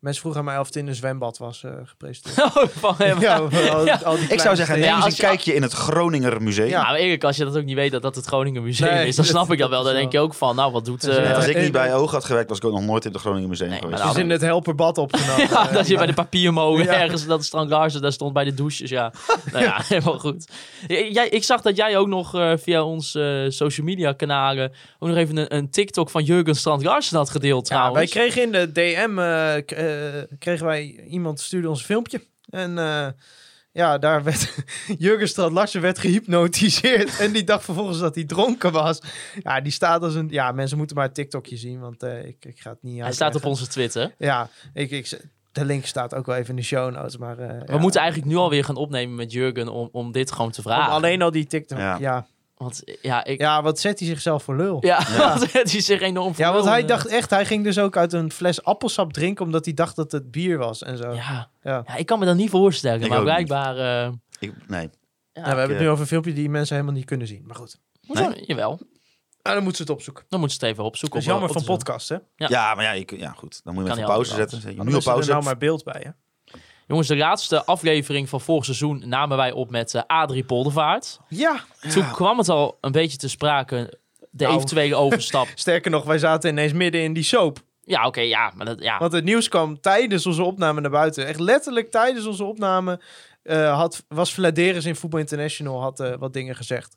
Mensen vroegen aan mij of het in een zwembad was eh, gepresenteerd.
Oh, Van hem. Ja.
Ja, al- al die kleine
Ik zou zeggen,
steden.
neem
Ja,
eens
als
een
je-
kijkje in het Groninger Museum.
Ja.
maar eerlijk, als je dat ook niet weet dat dat het Groningen Museum
Nee,
is, dan
dat-
snap ik dat
dat
wel. Dan
is
denk je ook van, nou, wat doet... eh,
Ja.
Net als ik
Eh,
niet bij Oog had gewerkt, was ik ook nog nooit in het Groninger Museum
Nee,
geweest.
maar
Het is in het helperbad opgenomen.
Ja,
Eh,
dat je bij de papiermolen
Ja.
ergens, dat Strand Larsen daar stond bij de douches. Ja, nou ja, helemaal goed. J- Jij, ik zag dat jij ook nog eh, via onze eh, social media kanalen ook nog even een, een TikTok van Jurgen Strand Larsen had gedeeld
Ja, wij
trouwens.
kregen in de DM eh, k- eh, kregen wij iemand stuurde ons een filmpje en eh, ja, daar werd Jurgen Strand Larsen werd gehypnotiseerd en die dacht vervolgens dat hij dronken was. Ja, die staat als een ja, mensen moeten maar het TikTokje zien, want eh, ik, ik ga het niet
Hij staat op
uitleggen.
onze Twitter.
Ja, ik, ik de link staat ook wel even in de show notes, maar eh,
We
ja.
moeten eigenlijk nu alweer gaan opnemen met Jurgen om, om dit gewoon te
Om
vragen.
alleen al die TikTok. Ja.
Ja.
Ja.
Want eh, ja, ik, ja.
wat zet hij zichzelf voor lul?
want het is zich enorm
Ja, want
verloren.
hij dacht echt, hij ging dus ook uit een fles appelsap drinken omdat hij dacht dat het bier was en zo.
Ja.
Ja.
Ja, ik kan me dat niet voorstellen,
Ik
maar
ook niet.
blijkbaar... eh,
Ik, nee.
Ja, we hebben het
eh,
nu over een filmpje die mensen helemaal niet kunnen zien. Maar goed,
moet
Nee?
wel- Jawel,
ah, dan moeten ze het opzoeken.
dan moeten ze het even opzoeken.
Dat is
op-
jammer
op
van
de Zoom.
podcast, hè?
Ja.
Ja. maar ja, ik, ja, goed. Dan moet je
Kan
hem
niet
even pauze
anders
zetten. Zet je
Dan
nu op
is er
pauze.
nou
zetten.
maar beeld bij, hè?
Jongens, de laatste aflevering van vorig seizoen namen wij op met eh, Adrie Poldervaart.
Ja,
Toen kwam het al een beetje te sprake, de
Nou.
eventuele overstap.
sterker nog, wij zaten ineens midden in die soap.
ja, oké, ja, maar dat, ja.
Want het nieuws kwam tijdens onze opname naar buiten. Echt letterlijk tijdens onze opname eh, had, was Vladeris in Voetbal International had eh, wat dingen gezegd.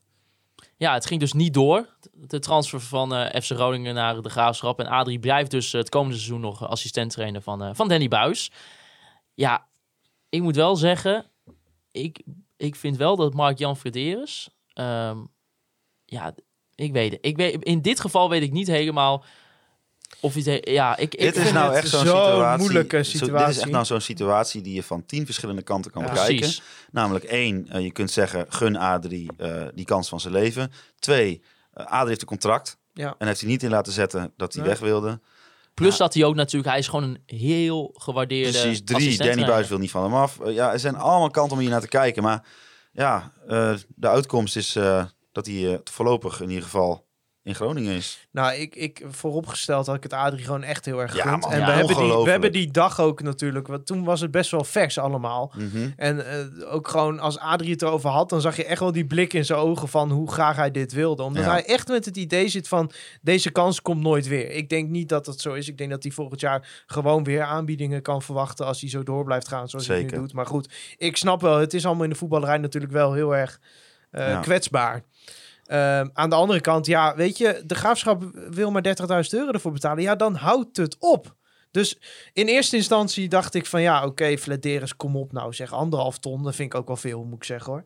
ja, het ging dus niet door. De transfer van eh, FC Groningen naar de Graafschap. En Adrie blijft dus eh, het komende seizoen nog eh, assistent-trainer van, eh, van Danny Buis. Ja, ik moet wel zeggen, ik, ik vind wel dat Mark-Jan Frederis... ehm, ja, ik weet het. Ik weet, in dit geval weet ik niet helemaal Of iets, he- ja, ik, ik
dit is
vind
nou
het-
echt zo'n
zo'n
situatie.
moeilijke
zo- dit
situatie.
is echt nou zo'n situatie die je van tien verschillende kanten kan
Ja.
bekijken.
Precies.
Namelijk één, eh, je kunt zeggen, gun Adrie eh, die kans van zijn leven. Twee, eh, Adrie heeft een contract
Ja.
en heeft hij niet in laten zetten dat hij
Nee.
weg wilde.
Plus dat hij ook natuurlijk, hij is gewoon een heel gewaardeerde
Precies, drie,
assistent-trainer.
Danny Buis wil niet van hem af. Eh, ja, er zijn allemaal kanten om hier naar te kijken. Maar ja, eh, de uitkomst is eh, dat hij eh, voorlopig in ieder geval in Groningen is.
Nou, ik, ik vooropgesteld had ik het Adrie gewoon echt heel erg
Ja,
gegund.
man.
en
Ja,
we, hebben die, we
ongelooflijk.
hebben die dag ook natuurlijk, want toen was het best wel vers allemaal.
Mhm.
En eh, ook gewoon als Adrie het erover had, dan zag je echt wel die blik in zijn ogen van hoe graag hij dit wilde. Omdat
Ja.
hij echt met het idee zit van deze kans komt nooit weer. Ik denk niet dat dat zo is. Ik denk dat hij volgend jaar gewoon weer aanbiedingen kan verwachten als hij zo door blijft gaan zoals hij nu
Zeker.
doet. Maar goed, ik snap wel, het is allemaal in de voetballerij natuurlijk wel heel erg eh,
Ja.
kwetsbaar. Ehm, aan de andere kant, ja, weet je, de graafschap wil maar 30.000 euro ervoor betalen. Ja, dan houdt het op. Dus in eerste instantie dacht ik van ja, oké, Flederis, kom op nou. Zeg anderhalf ton, dat vind ik ook wel veel, moet ik zeggen hoor.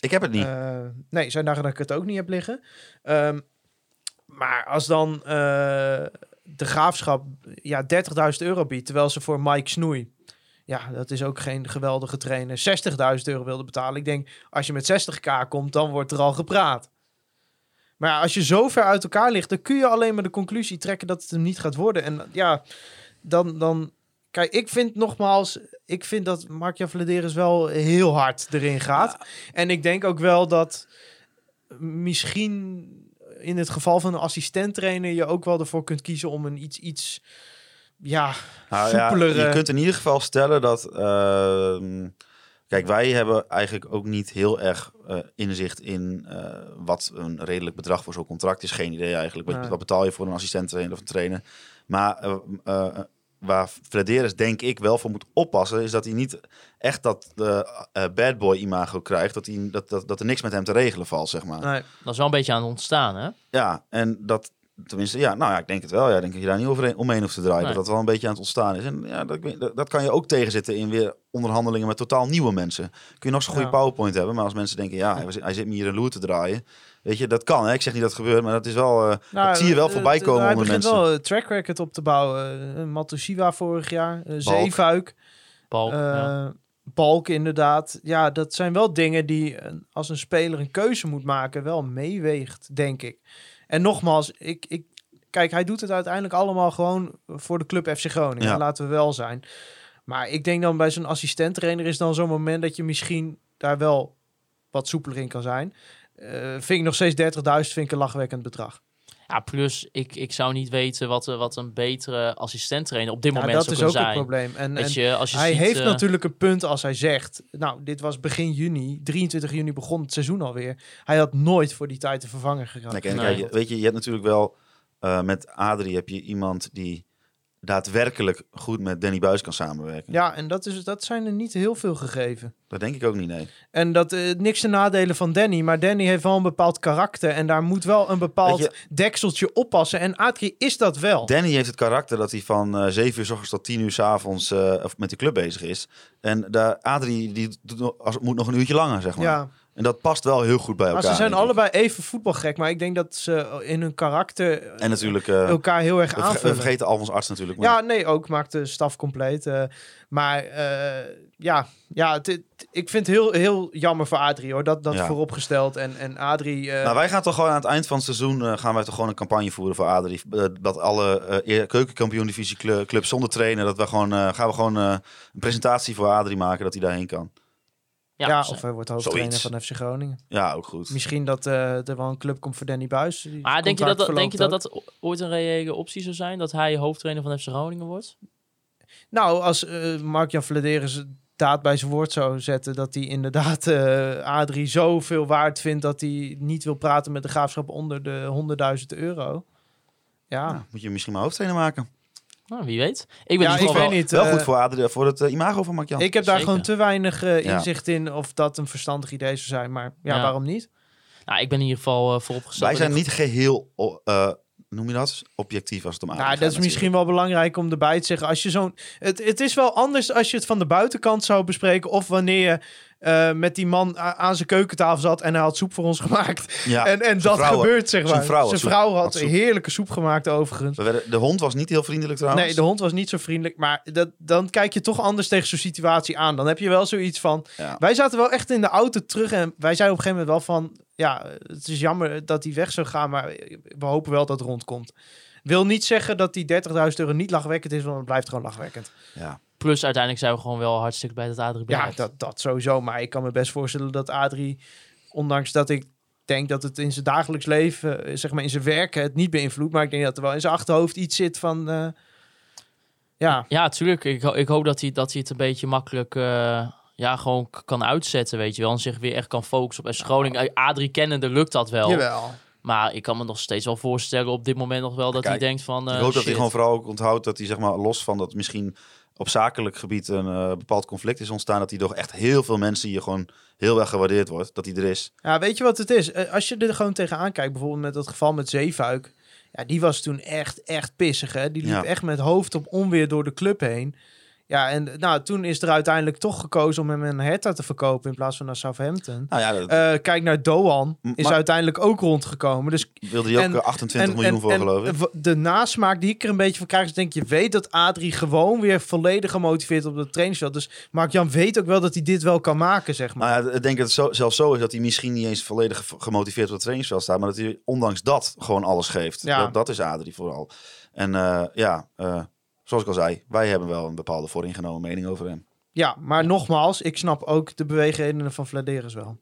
Ik heb het niet.
Eh, nee, zijn dagen dat ik het ook niet heb liggen. Ehm, maar als dan eh, de graafschap ja, 30.000 euro biedt, terwijl ze voor Mike Snoei, ja, dat is ook geen geweldige trainer, 60.000 euro wilde betalen. Ik denk, als je met 60k komt, dan wordt er al gepraat. Maar ja, als je zo ver uit elkaar ligt, dan kun je alleen maar de conclusie trekken dat het hem niet gaat worden. En ja, dan. dan Kijk, ik vind nogmaals, ik vind dat Mark Vlederis wel heel hard erin gaat. En ik denk ook wel dat misschien in het geval van een assistent trainer je ook wel ervoor kunt kiezen om een iets, iets ja,
Nou ja,
soepelere...
je kunt in ieder geval stellen dat. ehm, kijk, wij hebben eigenlijk ook niet heel erg eh, inzicht in eh, wat een redelijk bedrag voor zo'n contract is. Geen idee eigenlijk. Wat,
Nee.
wat betaal je voor een assistent trainer of een trainer? Maar eh, eh, waar Flederis denk ik wel voor moet oppassen, is dat hij niet echt dat eh, eh, bad boy imago krijgt. Dat, hij, dat, dat, dat er niks met hem te regelen valt, zeg maar.
Nee,
Dat is wel een beetje aan het ontstaan, hè?
Ja, en dat, tenminste, ja, nou ja, ik denk het wel. Ja, ik denk dat je daar niet overheen, omheen hoeft te draaien.
Nee.
Dat dat wel een beetje aan het ontstaan is. En ja, dat, ik weet- dat, dat kan je ook tegenzitten in weer onderhandelingen met totaal nieuwe mensen. Kun je nog zo'n goede
Ja.
PowerPoint hebben, maar als mensen denken, ja, hij, zit- hij zit me hier een loer te draaien. Weet je, dat kan. Hè? Ik zeg niet dat het gebeurt, maar dat is wel. eh, dat zie je wel
eh,
voorbij
eh,
komen
Hij
onder
begint
mensen.
wel een track record op te bouwen. Eh, Matosiwa vorig jaar, eh, Zeefuik,
Balk, ja.
eh, Balk inderdaad. Ja, dat zijn wel dingen die eh, als een speler een keuze moet maken wel meeweegt, denk ik. En nogmaals, ik, ik, kijk, hij doet het uiteindelijk allemaal gewoon voor de club FC Groningen.
Ja.
Laten we wel zijn. Maar ik denk dan bij zo'n assistent trainer is dan zo'n moment dat je misschien daar wel wat soepeler in kan zijn. Eh, vind ik nog steeds 30.000, vind ik een lachwekkend bedrag.
Ja, plus ik, ik zou niet weten wat, eh, wat een betere assistent trainer op dit
Ja,
moment zou
dat is
kunnen
ook
zijn.
het probleem. En, en
Weet je, als je
hij
ziet,
heeft
eh,
natuurlijk een punt als hij zegt... Nou, dit was begin juni. 23 juni begon het seizoen alweer. Hij had nooit voor die tijd te vervangen gegaan.
Kijk, en
Nee.
kijk, je- weet je, je hebt natuurlijk wel eh, met Adrie heb je iemand die daadwerkelijk goed met Danny Buis kan samenwerken.
Ja, en dat, is, dat zijn er niet heel veel gegeven.
Dat denk ik ook niet, nee.
En dat eh, niks te nadelen van Danny, maar Danny heeft wel een bepaald karakter en daar moet wel een bepaald
Weet
dekseltje oppassen. En Adrie is dat wel.
Danny heeft het karakter dat hij van eh 7 uur s ochtends tot 10 uur s avonds eh, of met de club bezig is. En daar Adrie die doet nog- als, moet nog een uurtje langer, zeg maar.
ja,
En dat past wel heel goed bij
maar
elkaar.
ze zijn
denk ik.
allebei even voetbalgek, maar ik denk dat ze in hun karakter eh,
En natuurlijk, eh, we,
elkaar heel erg
verge- we
aanvullen.
vergeten Alfons Arts natuurlijk. Maar,
Ja, nee, ook maakt de staf compleet. eh, maar eh, ja, ja het- het- ik vind het heel, heel jammer voor Adrie hoor. Dat, dat
Ja.
vooropgesteld. En, en Adrie. eh,
Nou, wij gaan toch gewoon aan het eind van het seizoen eh, gaan wij toch gewoon een campagne voeren voor Adrie. Eh, dat alle eh, eer- keukenkampioen divisie clu- club zonder trainer, dat we gewoon, eh, gaan we gewoon eh, een presentatie voor Adrie maken dat hij daarheen kan.
ja,
ja, ze-
of eh, hij wordt hoofdtrainer
zoiets.
van FC Groningen.
Ja, ook goed.
Misschien dat eh, er wel een club komt voor Danny Buis. Die
maar denk je, dat,
contract
dat- denk je dat
verloopt ook.
dat o- ooit een reële optie zou zijn? Dat hij hoofdtrainer van FC Groningen wordt?
Nou, als eh, Mark-Jan Vladeris daad bij zijn woord zou zetten... dat hij inderdaad eh Adrie zoveel waard vindt... dat hij niet wil praten met de graafschap onder de 100.000 euro. Ja,
Ja, moet je misschien maar hoofdtrainer maken.
Nou, wie weet. Ik ben
ja
in ieder
ik weet
geval wel-
niet.
wel
eh,
goed voor, Adrie, voor het eh, imago van Mark-Jan.
Ik heb daar
Zeker.
gewoon te weinig eh,
Ja.
inzicht in of dat een verstandig idee zou zijn. Maar ja,
Ja.
Ah,
waarom niet?
Nou, ik ben in ieder geval eh, vooropgesteld.
Wij zijn
dat ik-
niet geheel o- eh, noem je dat? Objectief als het om
Nou, dat is misschien wel belangrijk om erbij te zeggen. Als je zo'n, het, het is wel anders als je het van de buitenkant zou bespreken. Of wanneer je eh, met die man a- aan zijn keukentafel zat en hij had soep voor ons gemaakt.
Ja,
en en dat
zijn vrouw-
gebeurt, zeg
zijn
maar.
vrouw had
zijn
soep-
vrouw had,
had soep.
heerlijke soep gemaakt, overigens.
We werden, de hond was niet heel vriendelijk trouwens.
Nee, de hond was niet zo vriendelijk. Maar dat, dan kijk je toch anders tegen zo'n situatie aan. Dan heb je wel zoiets van.
Ja.
Wij zaten wel echt in de auto terug. En wij zeiden op een gegeven moment wel van. Ja, het is jammer dat hij weg zou gaan. Maar we hopen wel dat het rondkomt. Wil niet zeggen dat die 30.000 euro niet lachwekkend is. Want het blijft gewoon lachwekkend.
Ja.
Plus uiteindelijk zijn we gewoon wel hartstikke bij dat Adrie
Ja,
blijft.
dat, dat sowieso. Maar ik kan me best voorstellen dat Adrie. Ondanks dat ik denk dat het in zijn dagelijks leven. eh, Zeg maar in zijn werken het niet beïnvloedt. Maar ik denk dat er wel in zijn achterhoofd iets zit van. eh, ja.
Ja, tuurlijk. Ik, ho- ik hoop dat hij, dat hij het een beetje makkelijk eh, ja, gewoon k- kan uitzetten, weet je wel. En zich weer echt kan focussen op FC Groningen. Eh, Adrie kennende lukt dat wel.
Jawel.
Maar ik kan me nog steeds wel voorstellen op dit moment nog wel dat
Kijk,
hij denkt van... eh,
ik hoop dat hij
shit.
gewoon vooral ook onthoudt dat hij zeg maar los van dat misschien op zakelijk gebied een eh, bepaald conflict is ontstaan, dat hij door echt heel veel mensen hier gewoon heel erg gewaardeerd wordt, dat hij er is.
Ja, weet je wat het is? Eh, Als je er gewoon tegenaan kijkt, bijvoorbeeld met dat geval met Zeefuik. Ja, die was toen echt, echt pissig, hè? Die liep
Ja.
echt met hoofd op onweer door de club heen. Ja, en nou, toen is er uiteindelijk toch gekozen om hem een Hertha te verkopen in plaats van naar Southampton.
Nou ja, dat
Eh, kijk naar Doan,
M-
is
maar-
uiteindelijk ook rondgekomen. Dus
wilde hij ook
en-
eh, 28 miljoen voor geloof ik.
w- De nasmaak die ik er een beetje van krijg, is denk ik, je weet dat Adrie gewoon weer volledig gemotiveerd op de trainingsveld. Dus Mark-Jan weet ook wel dat hij dit wel kan maken, zeg maar.
Maar ja, ik denk dat het zo, zelfs zo is dat hij misschien niet eens volledig ge- gemotiveerd op het trainingsveld staat, maar dat hij ondanks dat gewoon alles geeft.
Ja.
Dat, dat is Adrie vooral. En eh, ja, eh, zoals ik al zei, wij hebben wel een bepaalde vooringenomen mening over hem.
Ja, maar nogmaals, ik snap ook de beweegredenen van Vladeris wel.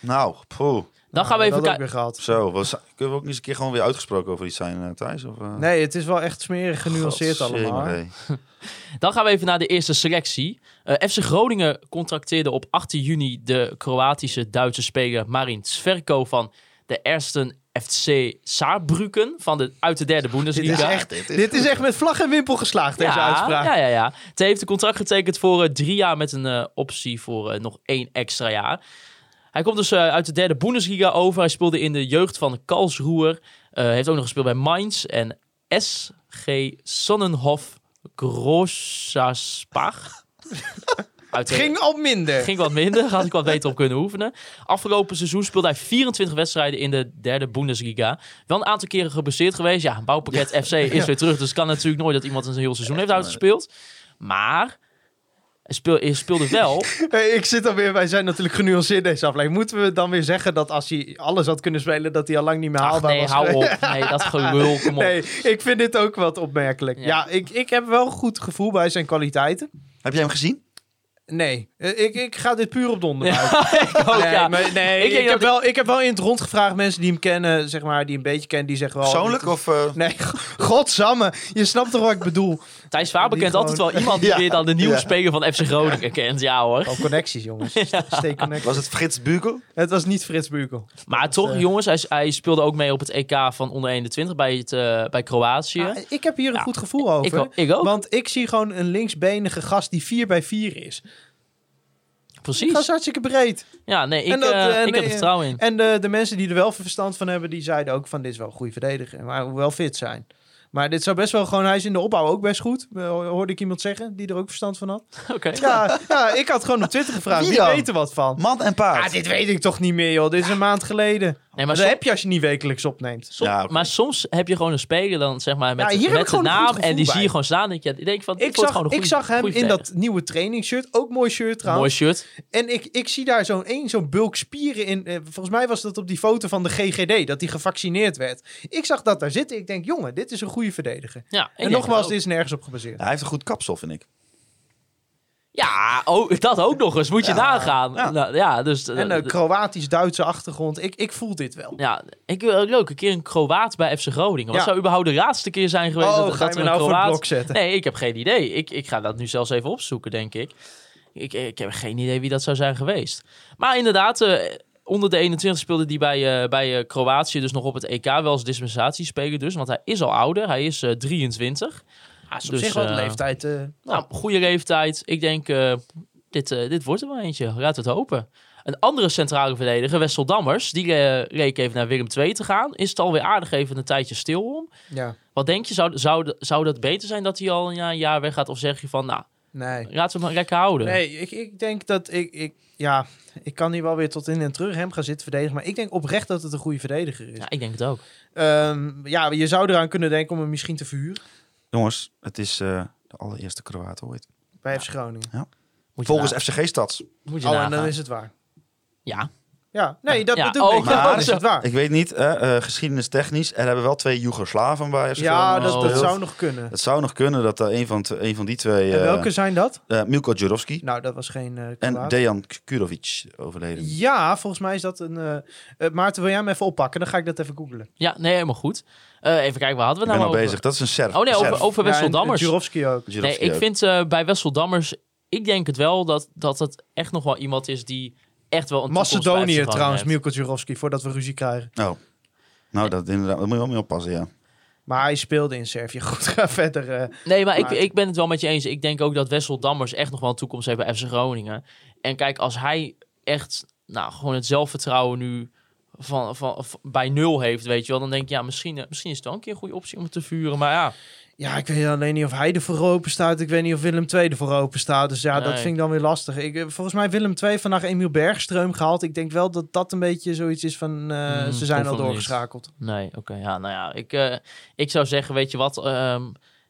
Nou, poeh.
Dan gaan we even
dat ook
kijken.
weer gehad.
Zo, we, zi- kunnen we ook niet eens een keer gewoon weer uitgesproken over iets zijn, eh, Thijs? Of, eh?
Nee, het is wel echt smerig genuanceerd
Godzijdank,
allemaal.
hé.
Dan gaan we even naar de eerste selectie. Eh, FC Groningen contracteerde op 18 juni de Kroatische Duitse speler Marin Sverko van de Ersten FC Saarbrücken van de, uit de derde
Dit
Bundesliga.
is, echt, dit is echt met vlag en wimpel geslaagd, deze uitspraak.
Ja, ja, ja. Ze heeft een contract getekend voor eh, drie jaar met een eh, optie voor eh, nog één extra jaar. Hij komt dus eh, uit de derde Bundesliga over. Hij speelde in de jeugd van Karlsruher. Eh heeft ook nog gespeeld bij Mainz en SG Sonnenhof Grossaspach. Uit eh, de-
Ging al minder.
ging wat minder. Had ik wat beter op kunnen oefenen. Afgelopen seizoen speelde hij 24 wedstrijden in de derde Bundesliga. Wel een aantal keren geblesseerd geweest. Ja, bouwpakket FC is weer terug. Dus het kan natuurlijk nooit dat iemand een heel seizoen heeft uitgespeeld. Maar hij speel- hij speelde wel.
Hey, ik zit alweer, wij zijn natuurlijk genuanceerd deze aflevering. Moeten we dan weer zeggen dat als hij alles had kunnen spelen, dat hij al lang niet meer
Ach,
haalbaar
nee,
was?
hou
geweest?
op. Nee, dat gelul. Kom op.
Nee, ik vind dit ook wat opmerkelijk.
Ja.
Ja, ik, ik heb wel een goed gevoel bij zijn kwaliteiten.
Heb jij hem gezien?
Nee, eh, ik, ik ga dit puur op donder
Ja,
uit.
ik ook,
Nee,
Oh, ja.
maar, nee,
Ik
ik,
denk dat
heb
ik-
wel, ik heb wel in het rond gevraagd mensen die hem kennen, zeg maar, die een beetje kennen, die zeggen wel...
Persoonlijk of... eh,
Nee, godsamme. Je snapt toch wat ik bedoel?
Thijs Faber
Die
kent
gewoon-
altijd wel iemand die
Ja.
weer dan de nieuwe
Ja.
speler van FC Groningen kent. Ja hoor.
Al connecties, jongens. Steek connecties.
Was het Frits Bukel?
Het was niet Frits Bukel.
Maar toch,
eh,
jongens, hij, hij speelde ook mee op het EK van onder 21 bij, het, eh, bij Kroatië.
Ah, ik heb hier een
Ja,
goed gevoel over.
ik ook- ik ook.
Want ik zie gewoon een linksbenige gast die 4 bij 4 is. Die gast is
Precies.
hartstikke breed.
Ja, nee, ik,
En dat,
eh,
eh,
ik heb
nee,
er
eh,
vertrouwen in.
En de, de mensen die er wel verstand van hebben, die zeiden ook van dit is wel een goede verdediger. Maar hoewel fit zijn. Maar dit zou best wel gewoon, hij is in de opbouw ook best goed. Eh, Hoorde ik iemand zeggen die er ook verstand van had.
Oké.
Ja, ja ik had gewoon op Twitter gevraagd.
Wie
Wie
dan?
weet er wat van?
Man en paard.
Ah, dit weet ik toch niet meer, joh. Dit is een maand geleden.
Nee, maar,
Maar dat
som-
heb je als je niet wekelijks opneemt.
som-
Ja, oké.
maar soms heb je gewoon een speler dan, zeg maar, met,
Ja, hier heb ik
met de
gewoon een goed
naam.
gevoel
En die
bij.
zie je gewoon staan. Dat je denkt van, dit
Ik
wordt
zag,
gewoon een
ik
goede-
zag hem
goede
in
verdediger.
dat nieuwe trainingsshirt. Ook mooi shirt
Mooi
trouwens.
shirt.
En ik, ik zie daar zo'n één, zo'n bulk spieren in. Eh, volgens mij was dat op die foto van de GGD, dat hij gevaccineerd werd. Ik zag dat daar zitten. Ik denk, jongen, dit is een goede verdediger.
Ja, ik
en
denk
nogmaals,
het
dit
ook.
is nergens op gebaseerd.
Ja, hij heeft een goed kapsel, vind ik.
Ja, oh, dat ook nog eens. Moet je nagaan.
ja.
Nou, ja, dus... eh,
En een Kroatisch-Duitse achtergrond. Ik, ik voel dit wel.
ja, ik wil ook leuk, een keer een Kroaat bij FC Groningen. Wat
Ja.
zou überhaupt de laatste keer zijn geweest
oh,
dat,
ga
dat
je
er
me
een
nou voor het
Kroaat...
blok zetten?
Nee, ik heb geen idee. Ik, ik ga dat nu zelfs even opzoeken, denk ik. ik. Ik heb geen idee wie dat zou zijn geweest. Maar inderdaad, eh, onder de 21 speelde hij bij, eh, bij eh, Kroatië dus nog op het EK wel als dispensatiespeler dus. Want hij is al ouder, hij is eh, 23.
Ah, is op
Dus,
zich wel de
eh,
leeftijd. eh,
Nou, goede leeftijd. Ik denk, eh, dit, eh, dit wordt er wel eentje. Laat het hopen. Een andere centrale verdediger, Wessel Dammers, die eh, leek even naar Willem II te gaan. Is het alweer aardig even een tijdje stil om.
Ja,
Wat denk je, zou, zou, zou dat beter zijn dat hij al ja, een jaar weggaat? Of zeg je van, nou,
nee.
laten we hem lekker houden?
Nee, ik, ik denk dat ik, ik... Ja, ik kan hier wel weer tot in en terug hem gaan zitten verdedigen. Maar ik denk oprecht dat het een goede verdediger is.
Ja, ik denk het ook.
Ehm, ja, je zou eraan kunnen denken om hem misschien te verhuren
Jongens, het is eh, de allereerste Kroaat ooit.
bij FC Groningen.
Moet je
Volgens
na-
FCG Stads.
moet je
Oh, en
nagaan.
dan is het waar.
Ja,
Ja, nee, dat
Ja,
bedoel
oh,
ik. Ja,
maar-
dan is het waar.
Ik weet niet, eh eh geschiedenistechnisch, er hebben wel twee Joegoslaven bij eh, FC
Ja,
Groningen
dat, dat
gespeeld.
zou nog kunnen.
Het zou nog kunnen dat er een van, t- een van die twee...
En
eh,
welke zijn dat?
eh, Milko Djurovski
Nou, dat was geen eh
en
kwaad.
Dejan Kurovic overleden.
Ja, volgens mij is dat een... eh, eh, Maarten, wil jij hem even oppakken? Dan ga ik dat even googlen.
ja nee, helemaal goed. Eh, even kijken, waar hadden
ik
we
ben
nou
al
over?
bezig. Dat is een Serb.
Oh nee, over, over
Ja,
Wessel
en- en
Dammers.
Jurovski ook.
Nee, ik vind eh, bij Wessel Dammers, ik denk het wel dat, dat het echt nog wel iemand is die echt wel een toekomst bij FC
Macedonië
Groningen
trouwens,
heeft.
Milko Jurovski, voordat we ruzie krijgen.
Oh. Nou, dat, inderdaad, daar moet je wel mee oppassen, ja.
Maar hij speelde in Servië. Goed, ga verder. eh.
Nee, maar ik,
Maarten.
ik ben het wel met je eens. Ik denk ook dat Wessel Dammers echt nog wel een toekomst heeft bij FC Groningen. En kijk, als hij echt nou, gewoon het zelfvertrouwen nu van, van, van- bij nul heeft, weet je wel, dan denk ik, ja, misschien, eh, misschien is het wel een keer een goede optie om het te vuren. Maar ja,
Ja, ik weet alleen niet of hij er voor open staat. Ik weet niet of Willem II er voor open staat. Dus ja, dat
Nee.
vind ik dan weer lastig. Ik, eh, volgens mij Willem II vandaag Emiel Bergstreum gehaald. Ik denk wel dat dat een beetje zoiets is van... eh,
Hmm,
ze zijn
hoeft
al
nog niet.
doorgeschakeld.
nee, oké. ja, nou ja, ik, eh, ik zou zeggen, weet je wat, ehm,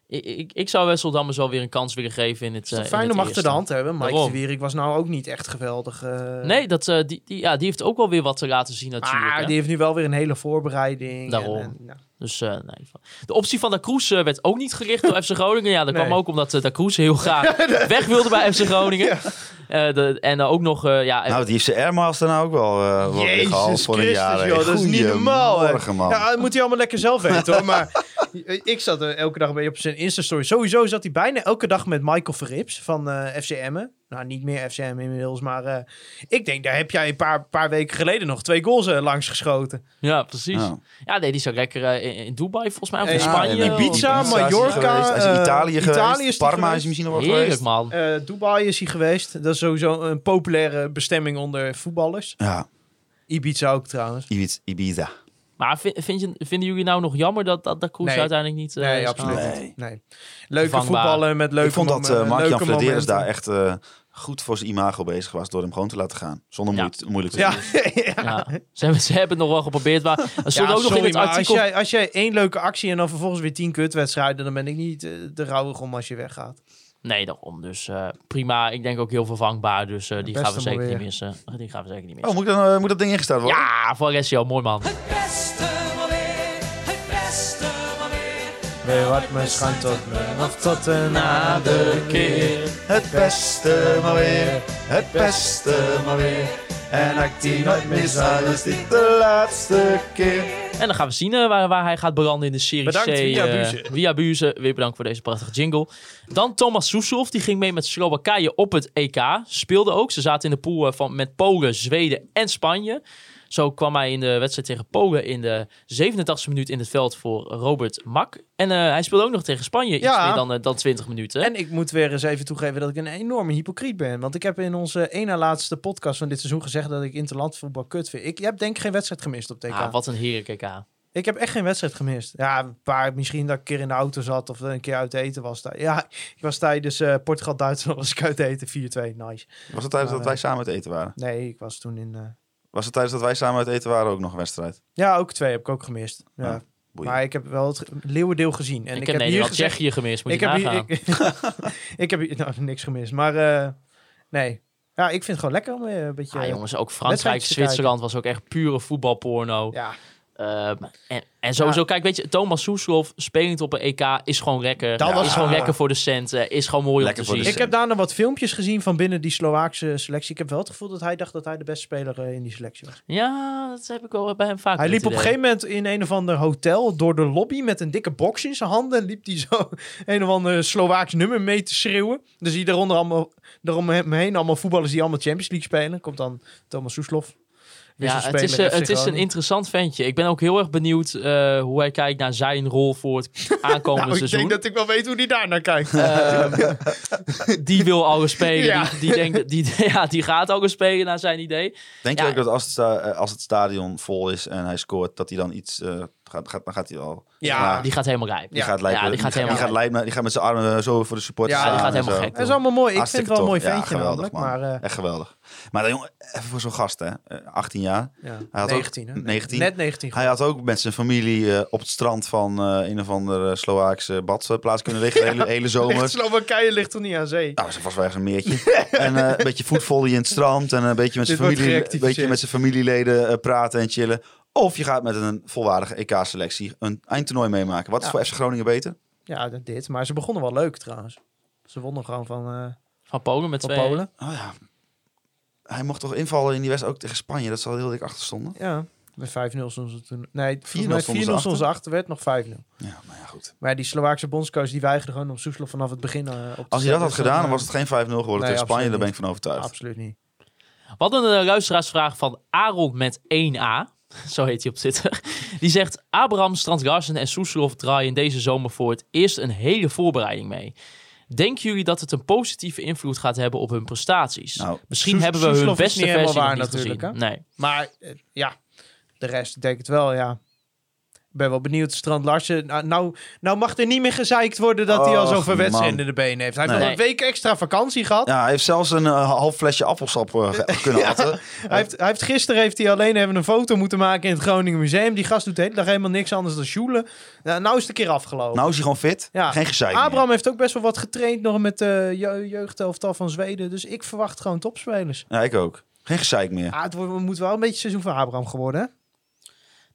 ik, ik, ik zou Wessel Dammers wel weer een kans willen geven in het.
Het is
eh, in
fijn
het
om achter de
eerste.
hand te hebben. Mike
Daarom.
de Wierik was nou ook niet echt geweldig. eh.
Nee, dat, eh, die, die, ja, die heeft ook wel weer wat te laten zien natuurlijk. hè.
Maar die heeft nu wel weer een hele voorbereiding. en-
Daarom.
en, nou,
Dus eh, nee, de optie van Da Cruz eh, werd ook niet gericht door FC Groningen. Ja, dat
Nee.
kwam ook omdat eh, Da Cruz heel graag weg wilde bij FC Groningen. Eh, de, en dan ook nog, eh, ja,
Nou, die heeft zijn Airmaster nou ook wel eh wel weer
Jezus
gehaald voor een
Christus,
jaar. hè.
joh, dat is niet normaal, hè.
Goedemorgen, man.
Ja, dat moet hij allemaal lekker zelf weten hoor. Maar ik zat er elke dag een beetje op zijn Insta-story. Sowieso zat hij bijna elke dag met Michael Verrips van eh FC Emmen. Nou, niet meer FC Emmen inmiddels. Maar eh, ik denk, daar heb jij een paar, paar weken geleden nog twee goals eh, langs geschoten.
ja precies.
Ja.
Ja. nee, die zou lekker eh, in, in Dubai volgens mij, of in
Eh,
Spanje.
in
of-
Ibiza,
is hij
Mallorca,
geweest. Hij is in
eh,
Italië,
Italië
geweest.
is hij
Parma is
geweest.
hij misschien nog wel
Heerlijk
geweest.
man.
Eh, Dubai is hij geweest. Dat is sowieso een populaire bestemming onder voetballers.
Ja,
Ibiza ook trouwens.
Ibiza. Ibiza.
Maar vind, vind je, vinden jullie nou nog jammer dat, dat Da Cruz
Nee.
uiteindelijk niet... eh,
Nee,
is
absoluut
gehaald?
niet.
Nee.
Nee. Leuke
Vervangbaar.
voetballen met leuke
ik vond dat
mom-
eh Mark-Jan
leuke
Flederis
momenten.
daar echt eh, goed voor zijn imago bezig was door hem gewoon te laten gaan. Zonder
Ja.
moeite, moeilijk te
Ja,
doen.
ja.
Ja, ze, hebben, ze hebben het nog wel geprobeerd, maar er stond
Ja,
ook nog in
sorry,
het
maar
artikel...
Als jij, als jij één leuke actie en dan vervolgens weer tien kutwedstrijden, dan ben ik niet eh, de rouwig om als je weggaat.
Nee, daarom. Dus eh, prima. Ik denk ook heel vervangbaar, dus eh, die
best
gaan we
allemaal
zeker niet
weer.
missen. Die gaan we zeker niet missen.
Oh, moet, ik dan, eh, moet dat ding ingestart worden?
Ja, Varesio, mooi man.
Het beste maar weer, het beste maar weer.
Weet wat me schuin tot me of tot een nader keer.
Het beste maar weer, het beste maar weer. En ik die nooit mis, dan is dit de laatste keer.
En dan gaan we zien eh, waar, waar hij gaat branden in de serie
Bedankt,
C.
Via
eh,
Buze.
Via Buze. Weer bedankt voor deze prachtige jingle. Dan Thomas Soeslof, die ging mee met Slowakije op het EK. Speelde ook. Ze zaten in de pool eh, van, met Polen, Zweden en Spanje. Zo kwam hij in de wedstrijd tegen Polen in de 87e minuut in het veld voor Robert Mak. En eh, hij speelde ook nog tegen Spanje iets
Ja.
meer dan, eh, dan 20 minuten.
En ik moet weer eens even toegeven dat ik een enorme hypocriet ben. Want ik heb in onze ene laatste podcast van dit seizoen gezegd dat ik interlandvoetbal kut vind. Ik je hebt denk ik geen wedstrijd gemist op TK.
Ah, wat een heerlijk EK.
Ik heb echt geen wedstrijd gemist. Ja, een paar, misschien dat ik een keer in de auto zat of een keer uit eten was. daar. Ja, ik was tijdens eh, Portugal-Duitsland was ik uit eten. 4-2, nice.
Was het tijdens
Maar,
dat wij samen uit eten waren?
Nee, ik was toen in... eh,
Was het tijdens dat wij samen uit eten waren ook nog een wedstrijd?
Ja, ook twee heb ik ook gemist. Ja.
Ah, boeien.
maar ik heb wel het ge- leeuwendeel gezien. En
ik, heb
ik, heb hier
Nederland,
gezegd...
Tsjechië gemist, moet
Ik
je
heb, hier,
nagaan.
ik, ik heb hier nou, niks gemist. Maar eh, nee. Ja, ik vind het gewoon lekker om eh, een beetje...
Ja, Ah, jongens, ook Frankrijk,
wedstrijdjes te kijken.
Zwitserland was ook echt pure voetbalporno.
Ja,
Ehm, en, en sowieso, kijk, weet je, Thomas Soeslof spelend op een EK is gewoon lekker.
Dat
was-
is gewoon
ja.
lekker voor de centen, is gewoon mooi
Lekker
om
voor
te
de
zien.
ik heb daarna wat filmpjes gezien van binnen die Slovaakse selectie. Ik heb wel het gevoel dat hij dacht dat hij de beste speler eh, in die selectie was.
Ja, dat heb ik wel bij hem vaak.
Hij
het
liep op een
Ah, idee.
gegeven moment in een of ander hotel door de lobby met een dikke box in zijn handen. En liep hij zo een of ander Slovaaks nummer mee te schreeuwen. Dus hier daaronder allemaal, daaromheen allemaal voetballers die allemaal Champions League spelen. Komt dan Thomas Soeslof.
Ja, het is, eh,
Wisselspelen
het
FC
is een
Groningen.
interessant ventje. Ik ben ook heel erg benieuwd eh, hoe hij kijkt naar zijn rol voor het aankomende
Nou, ik
seizoen.
denk dat ik wel weet hoe die daar naar kijkt.
Ehm, die wil al eens spelen.
Ja.
Die, die, denkt, dat- die, ja, die gaat al eens spelen naar zijn idee.
Denk
Ja.
je ook dat als het, sta- eh, als het stadion vol is en hij scoort, dat hij dan iets eh, gaat, gaat, dan gaat hij al.
Ja,
Maar
Die gaat helemaal rijpen.
die gaat lijpen.
Ja, die gaat helemaal
die gaat,
gek.
lijpen, die gaat met zijn armen eh, zo voor de supporters.
Ja, die
staan
gaat
en
helemaal
zo.
gek.
Dat is allemaal mooi. Ik vind het
Hartstikke
wel een mooi
tof. Ja,
ventje
geweldig,
namelijk. Maar
man.
eh,
Echt geweldig. Maar dan, jongen, even voor zo'n gast, hè? Eh, 18 jaar.
ja,
Hij had ook-
19, hè?
19.
Net 19.
Hij had ook met zijn familie eh, op het strand van eh, een of andere Sloaakse badplaats kunnen liggen. De hele, hele
Ligt
zomer.
Slowakije ligt toch niet aan zee?
Nou, ze was wel ergens een meertje. en eh, een beetje voetvolley in het strand. En eh, een beetje met
Dit
zijn,
wordt
familie, een
gerectificeerd.
beetje met zijn familieleden eh, praten en chillen. Of je gaat met een volwaardige EK-selectie een eindtoernooi meemaken. Wat is
Ja.
voor FC Groningen beter?
Ja, d- dit. Maar ze begonnen wel leuk trouwens. Ze wonnen gewoon van, eh,
Van Polen met
van
twee.
Polen.
Oh ja. Hij mocht toch invallen in die wedstrijd ook tegen Spanje. Dat zal heel dik achter stonden.
Ja, met 5-0 stonden ze toen. Nee, 4-0
stonden ze
stonden
achter.
ze achter, werd nog 5-0.
Ja, maar ja, goed.
Maar ja, die Slovaakse bondscoach die weigerde gewoon om Soeslof vanaf het begin eh, op te
Als hij dat
zetten.
had
Dus dan,
gedaan,
eh,
dan was het geen 5-0 geworden tegen
absoluut
Spanje. Daar
niet.
ben ik van overtuigd.
Absoluut niet.
Wat een eh, luisteraarsvraag van Aaron met 1A. Zo heet hij op Twitter. Die zegt: Abraham, Strandgarsen en Soeslof draaien deze zomer voor het eerst een hele voorbereiding mee. Denken jullie dat het een positieve invloed gaat hebben op hun prestaties?
Nou,
Misschien
Soes-
hebben we hun
Soeslof is
beste
niet
versie
helemaal
nog
waar
niet
natuurlijk,
gezien. Nee.
Maar eh, ja, de rest denk ik het wel, ja. Ik ben wel benieuwd, Strand Larsen. Nou, nou, nou mag er niet meer gezeikt worden dat hij al
Och,
zoveel
man.
wedstrijden in de benen heeft. Hij heeft
Nee.
nog een week extra vakantie gehad.
Ja, hij heeft zelfs een eh, half flesje appelsap eh, ge- kunnen atten.
Hij heeft, hij heeft, gisteren heeft hij alleen even een foto moeten maken in het Groningen Museum. Die gast doet de hele dag helemaal niks anders dan joelen. Nou, nou is de keer afgelopen.
Nou is hij gewoon fit.
Ja.
Geen gezeik meer.
Abraham heeft ook best wel wat getraind nog met de je jeugdelftal van Zweden. Dus ik verwacht gewoon topspelers.
Ja, ik ook. Geen gezeik meer.
Ah, het wordt, het moet wel een beetje seizoen van Abraham geworden, hè?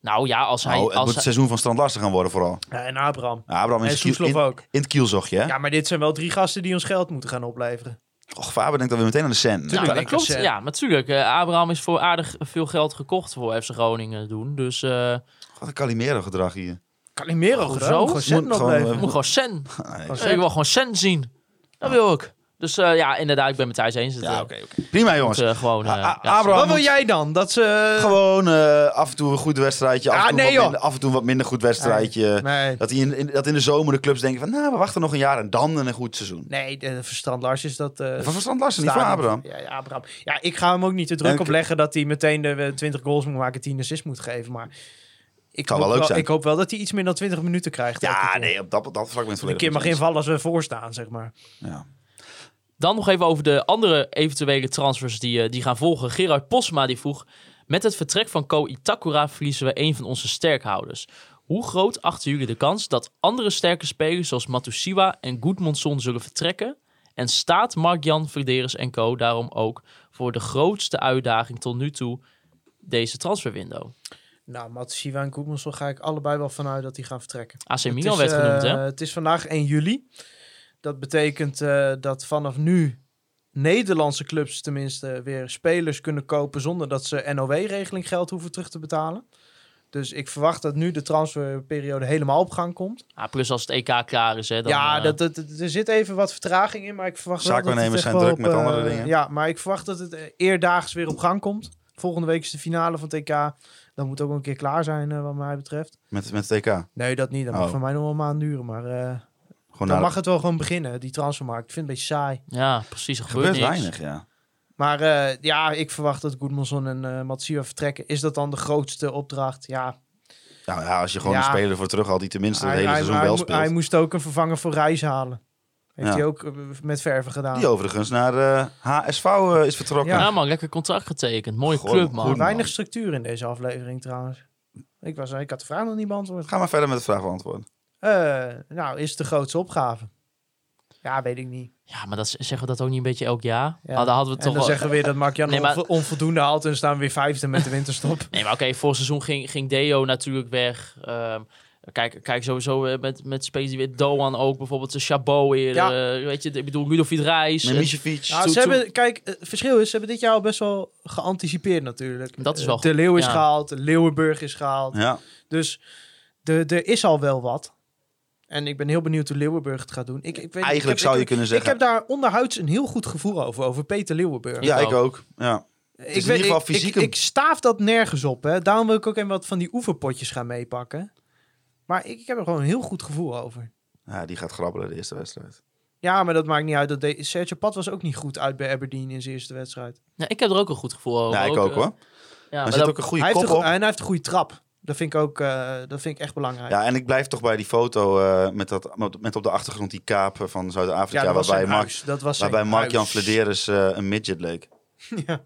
Nou ja, als hij.
Nou, het
als
moet het
hij-
seizoen van Strand lastig gaan worden vooral.
Ja, en Abraham.
Ja, Abraham in,
En
het kiel-
Soeslof
in,
ook.
in het kielzochtje, hè?
Ja, maar dit zijn wel drie gasten die ons geld moeten gaan opleveren.
Och, Faber denkt dat we meteen aan de scène.
Ja,
Tuurlijk.
nou, dat
denk ik
klopt.
als, eh,
Ja, natuurlijk. Eh, Abraham is voor aardig veel geld gekocht voor FC Groningen doen. Dus eh
Wat een Calimero-gedrag hier.
Calimero
Goed
goed
zo.
gewoon centen
Moet gewoon,
ik
opleveren.
moet gewoon cent.
Ah, Nee.
Gewoon
Eh, Ik
centen.
wil gewoon cent zien. Dat wil ik. Dus eh, ja, inderdaad, ik ben met Thijs eens. Het, eh,
Ja, oké. oké. Prima, jongens.
moet, eh, gewoon, eh,
A- A-
ja,
Abraham
Wat wil
moet
jij dan? Dat ze...
gewoon eh, af en toe een goed wedstrijdje. Af,
Ah,
en toe
nee,
wat
joh.
minder, af en toe een wat minder goed wedstrijdje.
Nee,
Dat, die in, in- dat in de zomer de clubs denken van... Nou, we wachten nog een jaar en dan een goed seizoen.
nee de verstand Lars is dat... eh,
Van Verstand Larsen, niet van
stadium-
Abraham.
Ja, ja, Abraham. Ja, ik ga hem ook niet te druk
En-
op leggen dat hij meteen de eh, 20 goals moet maken, 10 assists moet geven. Maar ik,
Kan
hoop
wel leuk zijn.
ik hoop wel dat hij iets meer dan 20 minuten krijgt. elke
Ja,
keer.
nee, op dat, op dat vlak ben ik het
Een
volledig
keer mag
met je
invallen als we voorstaan, zeg maar.
eens. Ja.
Dan nog even over de andere eventuele transfers die, eh, die gaan volgen. Gerard Posma die vroeg... Met het vertrek van Ko Itakura verliezen we een van onze sterkhouders. Hoe groot achten jullie de kans dat andere sterke spelers zoals Matusiwa en Goedmondson zullen vertrekken? En staat Mark-Jan Verderes en co daarom ook voor de grootste uitdaging tot nu toe deze transferwindow?
Nou, Matsushima en Koepmans ga ik allebei wel vanuit dat die gaan vertrekken.
AC
Het
Milan
is,
werd
eh,
genoemd, hè?
Het is vandaag 1 juli. Dat betekent eh, dat vanaf nu Nederlandse clubs tenminste weer spelers kunnen kopen zonder dat ze NOW-regeling geld hoeven terug te betalen. Dus ik verwacht dat nu de transferperiode helemaal op gang komt.
Ah, plus als het EK klaar is, hè? Dan,
ja,
eh,
dat, dat, dat- er zit even wat vertraging in, maar ik verwacht wel dat het
Zaakwaarnemers
echt
zijn
wel
druk met
op, eh,
andere dingen.
Ja, maar ik verwacht dat het eh, eerdaags weer op gang komt. Volgende week is de finale van TK. Dan moet ook een keer klaar zijn, eh, wat mij betreft.
Met, met het TK. Gewoon
Nee, dat niet. Dat mag
Oh. nou,
voor mij nog wel een maand duren, maar... eh,
naar
dan mag het wel gewoon beginnen, die transfermarkt. Ik vind het een beetje saai.
ja, precies. Er
Er gebeurt
gebeurt, niks.
weinig, ja.
Maar eh, ja, ik verwacht dat Goodmanson en eh Matsio vertrekken. Is dat dan de grootste opdracht? Ja,
Nou ja, als je gewoon
Ja.
een speler voor terug had die tenminste het
hij,
hele
hij-
seizoen
hij
wel
mo-
speelt.
hij moest ook een vervanger voor Reis halen. Heeft
Ja.
hij ook eh, met verven gedaan.
Die overigens naar eh, HSV eh, is vertrokken.
Ja.
Ja, man, lekker contract getekend. Mooie
Goh,
club,
goed,
man.
man.
Weinig structuur in deze aflevering trouwens. Ik, was, ik had de vraag nog niet beantwoord.
Ga maar verder met de vraag beantwoorden.
Eh, nou, is het de grootste opgave? Ja, weet ik niet.
Ja, maar dat, zeggen we dat ook niet een beetje elk jaar?
Ja.
Nou, daar hadden we
en
toch
dan
wel...
zeggen we weer dat Mark Jan
Nee, maar-
onvo- onvoldoende haalt en dan staan we weer vijfde met de winterstop.
Nee, maar oké, vorig seizoen ging, ging Deo natuurlijk weg. Ehm, kijk, kijk, sowieso eh, met, met spelers die weer... Doan ook bijvoorbeeld, de Chabot eerder. eh, weet je, ik bedoel, Ludovic Reis.
Nee,
eh,
Ja,
Micevic.
Toe-
Nou, ze
toe-
hebben, kijk, het verschil is, ze hebben dit jaar al best wel geanticipeerd natuurlijk.
Dat is wel
Eh, De Leeuw is
ja.
gehaald, Leeuwenburg is gehaald.
Ja,
Dus de- er is al wel wat. En ik ben heel benieuwd hoe Leeuwenburg het gaat doen. Ik, ik weet, niet, ik
eigenlijk
heb-
zou je
ik,
kunnen
Ik
zeggen.
heb daar onderhuids een heel goed gevoel over, over Peter Leeuwenburg.
ja,
Ik
ik ook. Ja.
ik,
in
weet-
ieder geval
ik- ik-
fysiek
Ik,
een-
staaf dat nergens op. Hè. Daarom wil ik ook even wat van die oefenpotjes gaan meepakken. Maar ik, ik heb er gewoon een heel goed gevoel over.
Ja, die gaat grabbelen de eerste wedstrijd.
Ja, maar dat maakt niet uit. Dat de, Sergio Pat was ook niet goed uit bij Aberdeen in zijn eerste wedstrijd.
Ja, ik heb er ook een goed gevoel over.
ja, ik ook
eh,
hoor.
Ja,
Maar
maar
er zit
dat-
ook een goede
Hij heeft,
kop
een, go-
op.
en hij heeft een goede trap. Dat vind ik ook eh, dat vind ik echt belangrijk.
Ja, en ik blijf toch bij die foto eh, met, dat, met- met op de achtergrond die kaap van
Ja,
Zuid-Afrika,
dat was
waarbij,
zijn
Mark,
huis. Dat was zijn
waarbij Mark-Jan
huis.
Flederis eh, een midget leek.
Ja,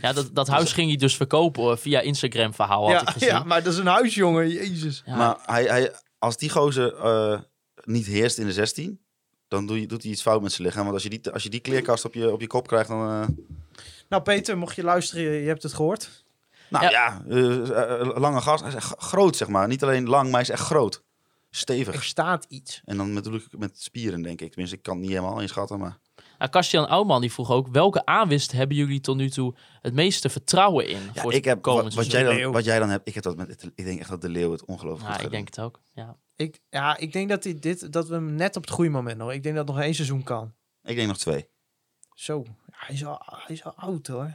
ja, dat, dat huis ging hij dus verkopen hoor, via Instagram verhaal had ik
ja,
gezien.
ja, maar dat is een huis, jongen. Jezus.
Ja.
Maar hij, hij, als die gozer eh, niet heerst in de 16, dan doe je, doet hij iets fout met zijn lichaam. Want als je die, als je die kleerkast op je, op je kop krijgt, dan... eh,
Nou, Peter, mocht je luisteren, je je hebt het gehoord.
nou
Ja.
ja, eh, eh, lange gast. Hij is echt groot, zeg maar. Niet alleen lang, maar hij is echt groot.
Er
Stevig.
staat iets.
En dan bedoel ik met spieren, denk ik. Tenminste, ik kan het niet helemaal inschatten, maar...
Nou, Kastian Ouwman die vroeg ook, welke aanwist hebben jullie tot nu toe het meeste vertrouwen in
Ja,
voor
ik heb,
komend
wat, wat
seizoen?
jij
Leeuw.
dan, wat jij dan hebt, ik, heb dat met, ik denk echt dat de Leeuw het ongelooflijk
Ja,
goed
ik
gaat
denk het ook. Ja.
Ik, ja, ik denk dat, hij dit, dat we hem net op het goede moment nog. Ik denk dat het nog één seizoen kan.
doen. Ik denk nog twee.
Zo, hij is al, hij is al oud hoor.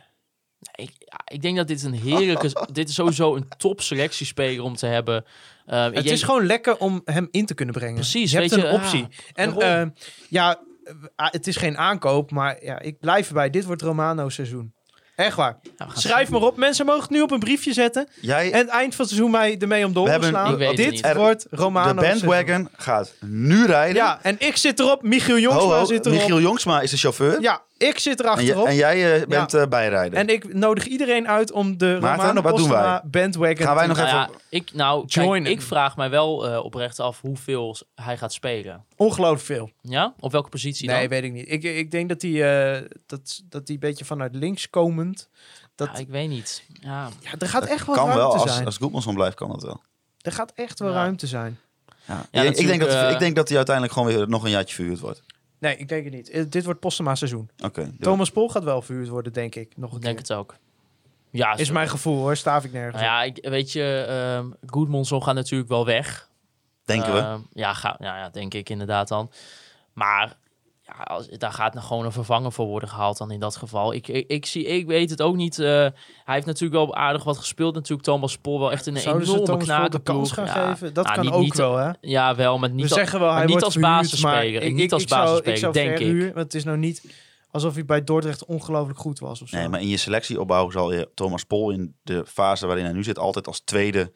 Ik, ja, ik denk dat dit een heerlijke, dit is sowieso een top selectiespeler om te hebben. Ehm, ik
Het
denk-
is gewoon lekker om hem in te kunnen brengen.
Precies,
je hebt
weet
een
je, ah,
optie. en
daarom.
eh, ja, eh, ah, het is geen aankoop, maar ja, ik blijf erbij. Dit wordt Romano seizoen. Echt waar.
Ja, Nou, we gaan
Schrijf maar op. Mensen mogen het nu op een briefje zetten.
Jij,
En het eind van het seizoen mij ermee om de oren
hebben-
slaan.
Ik weet het
Dit
niet.
Er-
wordt
de
Romano seizoen.
bandwagon gaat nu rijden.
Ja, en ik zit erop. Michiel Jongsma
Ho, ho,
zit erop.
Michiel Jongsma is de chauffeur.
Ja, ik zit
en, j-
erachterop.
en jij eh, bent eh, bijrijder.
En ik nodig iedereen uit om de
Maarten,
Romano
wat doen wij?
Postema bandwagon
Gaan wij nog
Nou
even...
ja, ik, nou, kijk,
Join
ik
hem.
vraag mij wel eh, oprecht af hoeveel s- hij gaat spelen.
Ongelooflijk veel.
Ja? Op welke positie
Nee,
dan?
weet ik niet. Ik, ik denk dat die, eh, dat, dat die een beetje vanuit links komend... Dat,
Ja, ik weet niet. Ja.
ja, er gaat echt wel
kan
ruimte
wel, als,
zijn.
als Goedmanson blijft, kan dat wel.
Er gaat echt wel
Ja.
ruimte zijn.
Ja.
Ja,
ik, ik denk dat,
natuurlijk, eh,
ik denk dat hij uiteindelijk gewoon weer nog een jaartje verhuurd wordt.
Nee, ik denk het niet. Eh, Dit wordt Postema seizoen.
Oké. doe.
Thomas Pol gaat wel verhuurd worden, denk ik. Nog een
Ik denk
keer.
het ook. Ja,
Is
zo-
mijn gevoel hoor, staaf ik nergens
Nou ja, ik, weet je, ehm Goodmanson gaat natuurlijk wel weg.
Denken we.
Ehm, ja, ga, nou ja, denk ik inderdaad dan. Maar ja, als, daar gaat nog gewoon een vervanger voor worden gehaald dan in dat geval. Ik, ik, ik zie, ik weet het ook niet. eh, hij heeft natuurlijk wel aardig wat gespeeld. Natuurlijk Thomas Pol wel echt een
op. Zouden ze
enorme
Thomas Pol de
knakenploeg.
kans gaan
Ja,
geven? Dat
nou,
kan
niet-
ook
niet-
wel, hè?
Ja, wel, maar niet,
We
al-
zeggen wel,
maar
hij
niet
wordt
als
verhuurd,
basisspeler.
maar ik-
niet
ik-
als
ik zou-
basisspeler,
ik zou
denk ik.
verhuur, Want het is nou niet alsof hij bij Dordrecht ongelooflijk goed was of zo.
Nee, maar in je selectieopbouw zal je Thomas Pol in de fase waarin hij nu zit altijd als tweede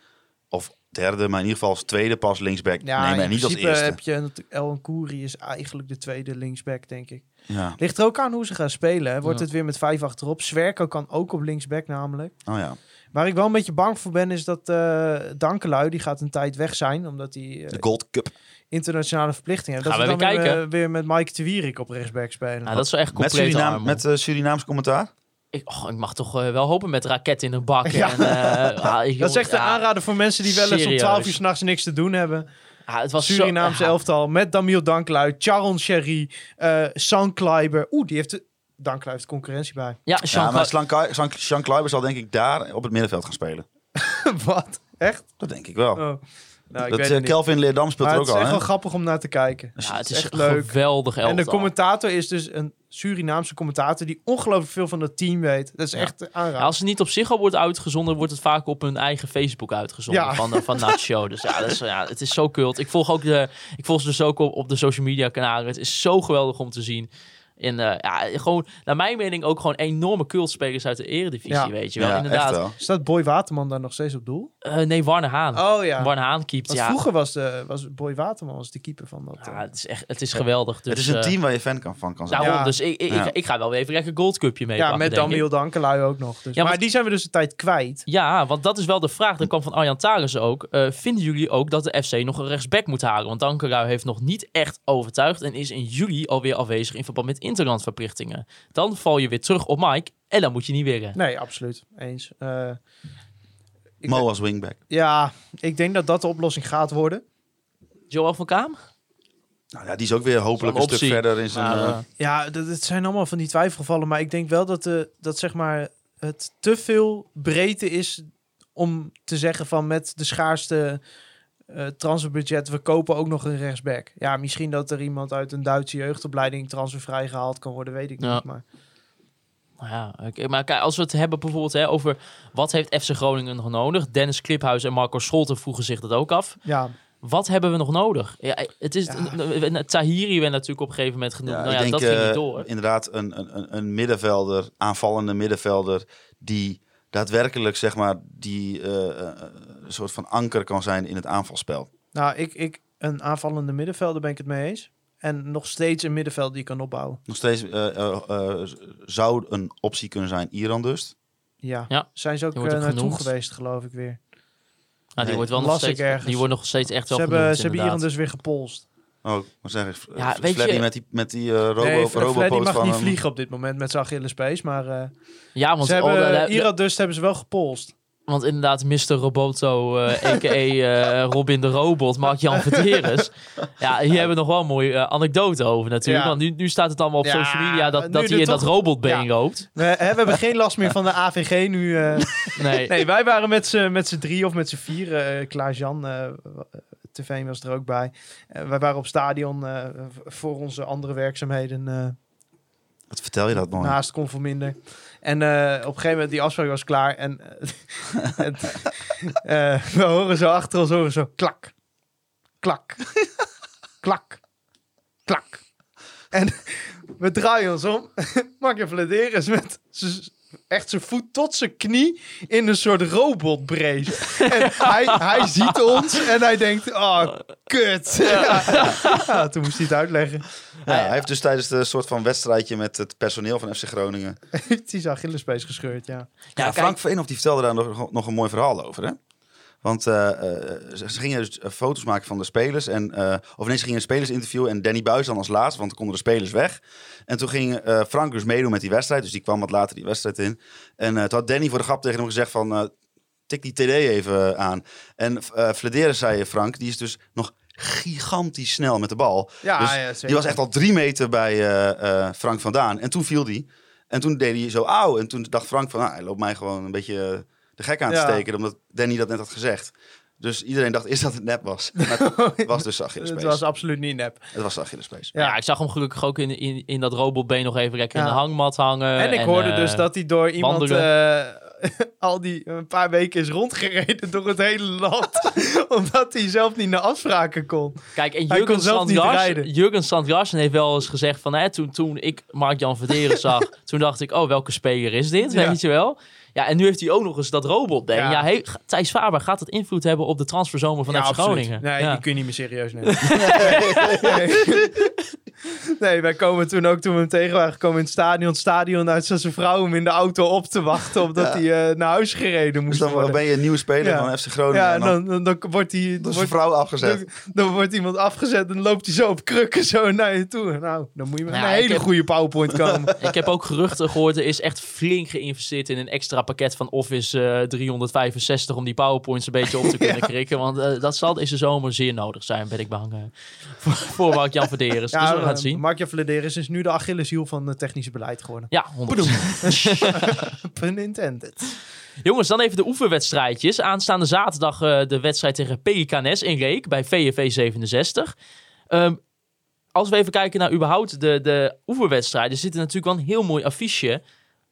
of derde, maar in ieder geval als tweede pas linksback
ja,
nemen
in
en niet als
principe
eerste.
heb je natuurlijk- El Koeri is eigenlijk de tweede linksback, denk ik.
Ja.
Ligt er ook aan hoe ze gaan spelen. hè. Wordt
Ja.
het weer met vijf achterop? Zwerko kan ook op linksback namelijk.
Oh ja.
Waar ik wel een beetje bang voor ben, is dat eh Dankelui, die gaat een tijd weg zijn, omdat hij eh,
De Gold Cup.
internationale verplichtingen heeft.
Gaan we
dat we dan
weer
weer,
kijken.
eh, weer met Mike de Wierik op rechtsback spelen.
Nou, dat is wel echt
Met,
compleet
Surinaam,
armoe.
met eh, Surinaams commentaar.
ik, och, ik mag toch eh, wel hopen met raket in een bak.
Ja.
En, eh, ah, ik-
dat is echt een
ja,
aanrader voor mensen die wel eens om
serieus.
12 uur s'nachts niks te doen hebben.
ah, het was zo-
Surinaamse
ah,
elftal met Damiel Danklui, Charon Sherry, eh San Kleiber. Oeh, die heeft de... Danklui heeft concurrentie bij.
Ja,
Ja,
Jean
maar Slank- Slank- Sean Kluiber zal denk ik daar op het middenveld gaan spelen.
Wat? Echt?
Dat denk ik wel.
Oh. Nou, ik
dat,
weet
eh,
het niet.
Kelvin Leerdam speelt
Maar
er
het
ook
is
al.
echt
hè?
wel grappig om naar te kijken.
Ja, het
is
is
echt
een
leuk.
geweldig elftal.
En de commentator is dus een Surinaamse commentator die ongelooflijk veel van het team weet. Dat is echt een
Ja,
aanrader.
als het niet op zich al wordt uitgezonden, wordt het vaak op hun eigen Facebook uitgezonden
Ja.
van, eh, van Nat Show. Dus ja, dat is, ja, het is zo kult. Ik volg, ook de, ik volg ze dus ook op, op de social media kanalen. Het is zo geweldig om te zien. En eh, ja, gewoon, naar mijn mening ook gewoon enorme cultspelers uit de eredivisie,
Ja.
weet je wel.
Ja, echt
Inderdaad.
wel.
Staat Boy Waterman daar nog steeds op doel?
Eh, nee, Warne Haan.
Oh ja.
Warne Haan keept,
Want
ja.
vroeger was, de, was Boy Waterman was de keeper van dat.
ja.
eh,
Het is, echt, het is geweldig. Dus,
het is een
eh,
team waar je fan kan, van kan zijn.
daarom,
Ja.
dus ik, ik,
Ja.
ik, ik ga wel weer even lekker Gold Cupje mee
ja,
pakken,
met
denk ik.
Damiel Dankelui ook nog. Dus.
Ja,
maar
want-
die zijn we dus de tijd kwijt.
Ja, want dat is wel de vraag. Dan kwam van Arjan Taris ook. Eh, vinden jullie ook dat de FC nog een rechtsback moet halen? Want Dankerui heeft nog niet echt overtuigd en is in juli alweer afwezig in verband met interlandverplichtingen. Dan val je weer terug op Mike en dan moet je niet winnen.
Nee, absoluut. Eens. Eh, ik
Mo
ben-
als wingback.
ja, ik denk dat dat de oplossing gaat worden.
Joel van Kaam?
Nou ja, die is ook weer hopelijk een
Zo'n
stuk
optie.
verder in zijn...
Maar,
eh,
eh,
Ja, dat, het zijn allemaal van die twijfelgevallen. Maar ik denk wel dat, de, dat zeg maar, het te veel breedte is om te zeggen van met de schaarste eh transferbudget, we kopen ook nog een rechtsback. Ja, misschien dat er iemand uit een Duitse jeugdopleiding transfervrij gehaald kan worden, weet ik
Ja.
niet. Maar
Nou Ja, oké. maar kijk, als we het hebben bijvoorbeeld hè, over wat heeft FC Groningen nog nodig? Dennis Kliphuis en Marco Scholten vroegen zich dat ook af.
Ja,
Wat hebben we nog nodig? Ja, het is, Tahiri werd natuurlijk op een gegeven moment genoemd. nou ja, dat ging
eh,
niet door.
inderdaad een, een, een- een middenvelder, aanvallende middenvelder, die daadwerkelijk zeg maar die eh, eh, een soort van anker kan zijn in het aanvalspel.
nou, ik, ik, een aanvallende middenvelder ben ik het mee eens. En nog steeds een middenveld die kan opbouwen.
Nog steeds eh, eh, eh, z- zou een optie kunnen zijn Iran dus.
Ja,
Ja,
zijn ze ook
die
eh,
wordt ook
naartoe
genoemd.
geweest, geloof ik weer.
Nou,
Nee,
die, wordt wel nog
las ik
steeds,
ergens.
die wordt nog steeds echt
Ze
wel
hebben,
genoemd,
ze hebben
inderdaad.
Iran dus weer gepolst.
Oh, wat zeg ik?
Ja,
Ja,
weet je-
met die met die eh, robo
nee, Fle-
robo
Fleddy mag
van
niet
hem.
vliegen op dit moment met zijn Achillespees. Maar eh,
Ja, want,
ze hebben,
oh, daar- daar-
Iran dus hebben ze wel gepolst.
want inderdaad, Mr. Roboto, eh a.k.a. eh, Robin de Robot, Mark-Jan Verteres. Ja, hier hebben we nog wel een mooie eh, anekdote over natuurlijk.
Ja.
Want nu, nu staat het allemaal op
Ja,
social media
nu
dat, dat
er
hij in dat
toch-
robotbeen
Ja.
loopt.
We, hè, we hebben geen last meer van de AVG nu. eh.
Nee,
Nee, wij waren met z'n met z'n drie of met z'n vier. eh, Klaas-Jan, eh, w- eh, TV was er ook bij. Eh, wij waren op stadion eh, v- voor onze andere werkzaamheden. eh,
Wat vertel je dat mooi?
Nou,
Naast Conforminder. En eh, op een gegeven moment, die afspraak was klaar. En eh, het- eh, we horen zo achter ons, horen zo klak, klak, klak, klak. En we draaien ons om. Mark Vladeris met z'n- echt zijn voet tot zijn knie in een soort robotbrace. En hij, hij ziet ons en hij denkt, oh, kut. Ja. Ja, toen moest hij het uitleggen.
nou
ja, hij heeft dus tijdens de soort van wedstrijdje met het personeel van FC Groningen.
Heeft hij zijn Achillespees gescheurd, ja.
Ja,
Ja, kijk.
Frank Veenhoff die vertelde daar nog, nog een mooi verhaal over, hè? Want eh, eh, ze, ze gingen dus eh, foto's maken van de spelers. En, eh, of nee, ze gingen een spelersinterview en Danny Buis dan als laatste, want dan konden de spelers weg. En toen ging eh, Frank dus meedoen met die wedstrijd, dus die kwam wat later die wedstrijd in. En eh toen had Danny voor de grap tegen hem gezegd van, eh, tik die TD even aan. En eh Flederis zei Frank, die is dus nog gigantisch snel met de bal.
Ja,
Dus
ja, zeker.
Die was echt al drie meter bij eh, eh, Frank vandaan. En toen viel die. En toen deed hij zo auw. En toen dacht Frank van, nou, hij loopt mij gewoon een beetje eh, de gek aan te
Ja.
steken. Omdat Danny dat net had gezegd. Dus iedereen dacht eerst dat het nep was. Maar het was dus
Het
Achillespees.
was absoluut niet nep.
Het was Achillespees.
Ja. ik zag hem gelukkig ook in, in, in dat robotbeen nog even lekker in
Ja.
de hangmat hangen.
en ik hoorde
eh,
dus dat hij door iemand eh, al die een paar weken is rondgereden door het hele land. omdat hij zelf niet naar afspraken kon.
Kijk, en
Hij kon
Jurgen
zelf niet
Sandgarsen,
rijden.
Jurgen Sandgarsen heeft wel eens gezegd van... Hè, toen, toen ik Mark-Jan Verderen zag, toen dacht ik... Oh, welke speler is dit?
Ja.
Weet je wel? Ja, en nu heeft hij ook nog eens dat robot. Ja.
Ja.
Ja, hey, ga- Thijs Faber, gaat dat invloed hebben op de transferzomer van
Ja,
FC
absoluut.
Groningen?
Nee,
ja.
die kun je niet meer serieus nemen. nee. Nee, wij komen toen ook, toen we hem tegen waren gekomen in het stadion, het stadion uit zijn vrouw hem in de auto op te wachten, omdat hij eh, naar huis gereden
Dus
moest
dan
worden.
ben je een nieuwe speler
Ja.
van FC Groningen.
Ja,
en
en
dan,
dan, dan, dan wordt hij...
dan is
wordt-
een vrouw afgezet.
Dan, dan wordt iemand afgezet en loopt hij zo op krukken zo naar je toe. Nou, dan moet je met
Nou,
een
ik
hele
heb-
goede PowerPoint komen.
Ik heb ook geruchten gehoord. Er is echt flink geïnvesteerd in een extra pakket van Office eh, 365 om die powerpoints een beetje op te kunnen krikken. Want eh, dat zal deze zomer zeer nodig zijn, ben ik bang. eh, voor, voor Mark-Jan Verderen. dus we gaan het zien.
Markje Vladeris is dus nu de Achilleshiel van het technische beleid geworden.
Ja, 100%.
Pun intended.
Jongens, dan even de oefenwedstrijdjes. Aanstaande zaterdag eh, de wedstrijd tegen PKNS in Reek bij VFV 67. Ehm, als we even kijken naar überhaupt de, de oefenwedstrijden, zit er natuurlijk wel een heel mooi affiche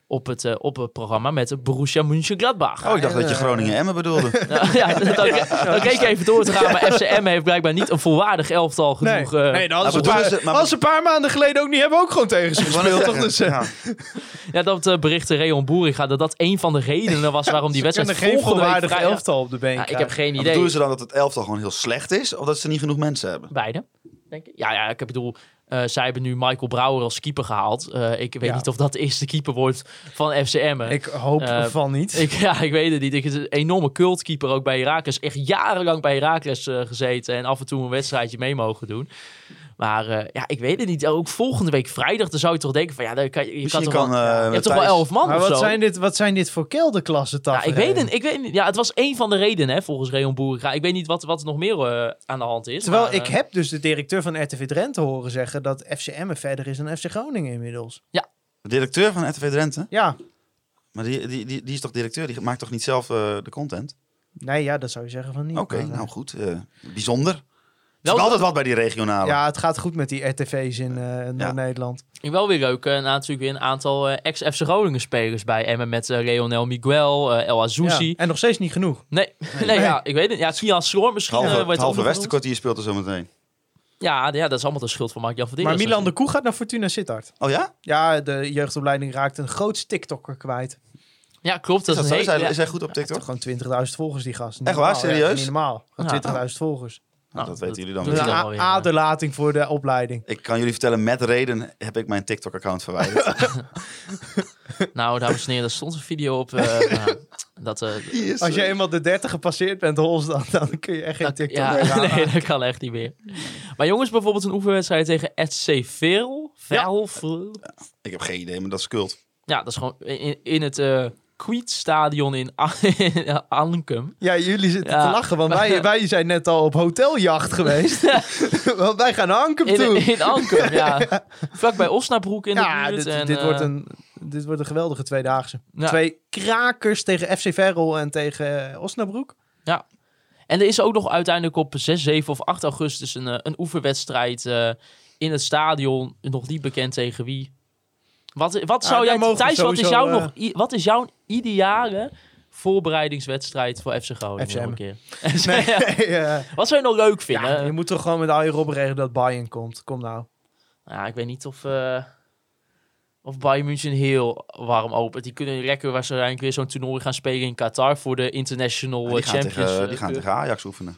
op het, eh, op het programma met Borussia Mönchengladbach.
Oh, ik dacht dat je Groningen-Emmen bedoelde.
Nou, ja, dat, dat, dat keek ik even door te gaan, maar FCM heeft blijkbaar niet een volwaardig elftal
Nee,
genoeg. eh,
nee dan hadden ze
maar
een
bedoelen
paar-
ze- maar-
als ze een paar maanden geleden ook niet hebben, we ook gewoon tegen ze gespeeld. Toch? Dus, eh,
Ja.
ja, dat eh, berichtte Reon Boeringa dat dat een van de redenen was waarom die
ze kunnen
wedstrijd
geen
volgende week
volwaardige
vrij-
elftal op de been
Ja, ik heb
krijgen.
geen
Maar
idee.
Bedoelen ze dan dat het elftal gewoon heel slecht is? Of dat ze niet genoeg mensen hebben?
Beide, denk ik. Ja, ja ik bedoel, eh, zij hebben nu Michael Brouwer als keeper gehaald. Eh, ik weet
Ja.
niet of dat de eerste keeper wordt van FCM.
Ik hoop
Eh,
van niet.
Ik, ja, ik weet het niet. Ik is een enorme cultkeeper ook bij Herakles. Echt jarenlang bij Herakles eh, gezeten en af en toe een wedstrijdje mee mogen doen. Maar eh, ja, ik weet het niet. Ook volgende week vrijdag, dan zou je toch denken van ja, dan kan, je- je, kan
Misschien
toch
kan,
wel,
eh,
je hebt toch wel
Matthijs-
elf man
maar
of
wat
zo?
zijn, dit, wat zijn dit voor kelderklassen
Ja, ik
tafereelen?
weet het, ik weet het niet. Ja, het was één van de redenen, hè, volgens Reon Boerenga. Ik weet niet wat, wat er nog meer eh, aan de hand is.
Terwijl
maar,
ik
eh,
heb dus de directeur van RTV Drenthe horen zeggen dat FCM verder is dan FC Groningen inmiddels.
De directeur van RTV Drenthe?
Ja,
Maar die, die, die, die is toch directeur? Die maakt toch niet zelf eh, de content?
nee, ja, dat zou je zeggen van niet.
Oké,
maar, eh,
nou goed. eh, bijzonder. Er
Wel,
is altijd wat bij die regionale.
Ja, het gaat goed met die RTV's in eh, Noord-Nederland.
wel weer leuk. eh, na natuurlijk weer een aantal eh, ex-FC Groningen spelers bij Emmen. Met eh, Leonel Miguel, eh El
Ja.
Azouzi.
En nog steeds niet genoeg.
Nee, nee, ja, ik weet het. Ja, Kian Schroor misschien.
Halve,
eh,
het
wordt ook
halve
nog genoemd.
Westenkwartier speelt er zo meteen.
Ja, d- ja, dat is allemaal de schuld van Mark-Jan van
maar
Dinges
Milan de Koe gaat naar Fortuna Sittard.
Oh ja?
Ja, de jeugdopleiding raakt een groot TikToker kwijt.
natuurlijk. Ja, klopt. Dat
Is,
is,
dat
een
zo? Is, hij,
hele-
is hij goed op
Toch
TikTok? Nou,
gewoon 20.000 volgers die gast. Niet
Echt waar?
normaal, ja.
Serieus?
Niet normaal.
Ja.
Gewoon 20.000 volgers.
Nou, dat weten jullie dan
doet
Dus
weer.
een
hij dan
a-
wel weer, ja.
aderlating voor de opleiding.
Ik kan jullie vertellen, met reden heb ik mijn TikTok-account verwijderd.
Nou, dames en heren, daar stond een video op. eh, nou, dat, eh,
Als je eenmaal de 30 gepasseerd bent, Hols, dan, dan kun je echt geen
dat-
TikTok
ja,
meer aan.
nee, dat kan echt niet meer. Maar jongens, bijvoorbeeld een oefenwedstrijd tegen SC Verl. Verl, Verl.
ik heb geen idee, maar dat is kult.
Ja, dat is gewoon in, in het eh Kwietstadion in, A- in Arnhem.
Ja, jullie zitten
Ja.
te lachen, want wij, wij zijn net al op hoteljacht geweest. want wij gaan naar Ankum toe.
In, in Arnhem, ja. Vlakbij Osnabroek in
ja,
de buurt.
dit,
en,
dit,
eh,
wordt een, dit wordt een geweldige tweedaagse.
Ja.
Twee krakers tegen FC Verrel en tegen eh, Osnabroek.
En er is ook nog uiteindelijk op 6, 7 of 8 augustus een, eh, een oefenwedstrijd eh, in het stadion. Nog niet bekend tegen wie. Wat, wat
Ja,
zou
daar
jij,
mogen we
Thijs, wat is,
sowieso,
jouw
eh,
nog, i- wat is jouw ideale voorbereidingswedstrijd voor FC Groningen?
FC
nog een
Emmen.
keer?
Nee, eh,
Wat zou je nog leuk
ja,
vinden?
je
Ja,
moet toch gewoon met al je robben regelen dat Bayern komt. Kom nou.
ik weet niet of, eh of Bayern München heel warm opent. Die kunnen lekker waarschijnlijk weer zo'n toernooi gaan spelen in Qatar voor de International
Ah, Die
eh,
gaan,
Champions.
tegen,
eh,
die gaan
Cup.
tegen Ajax oefenen.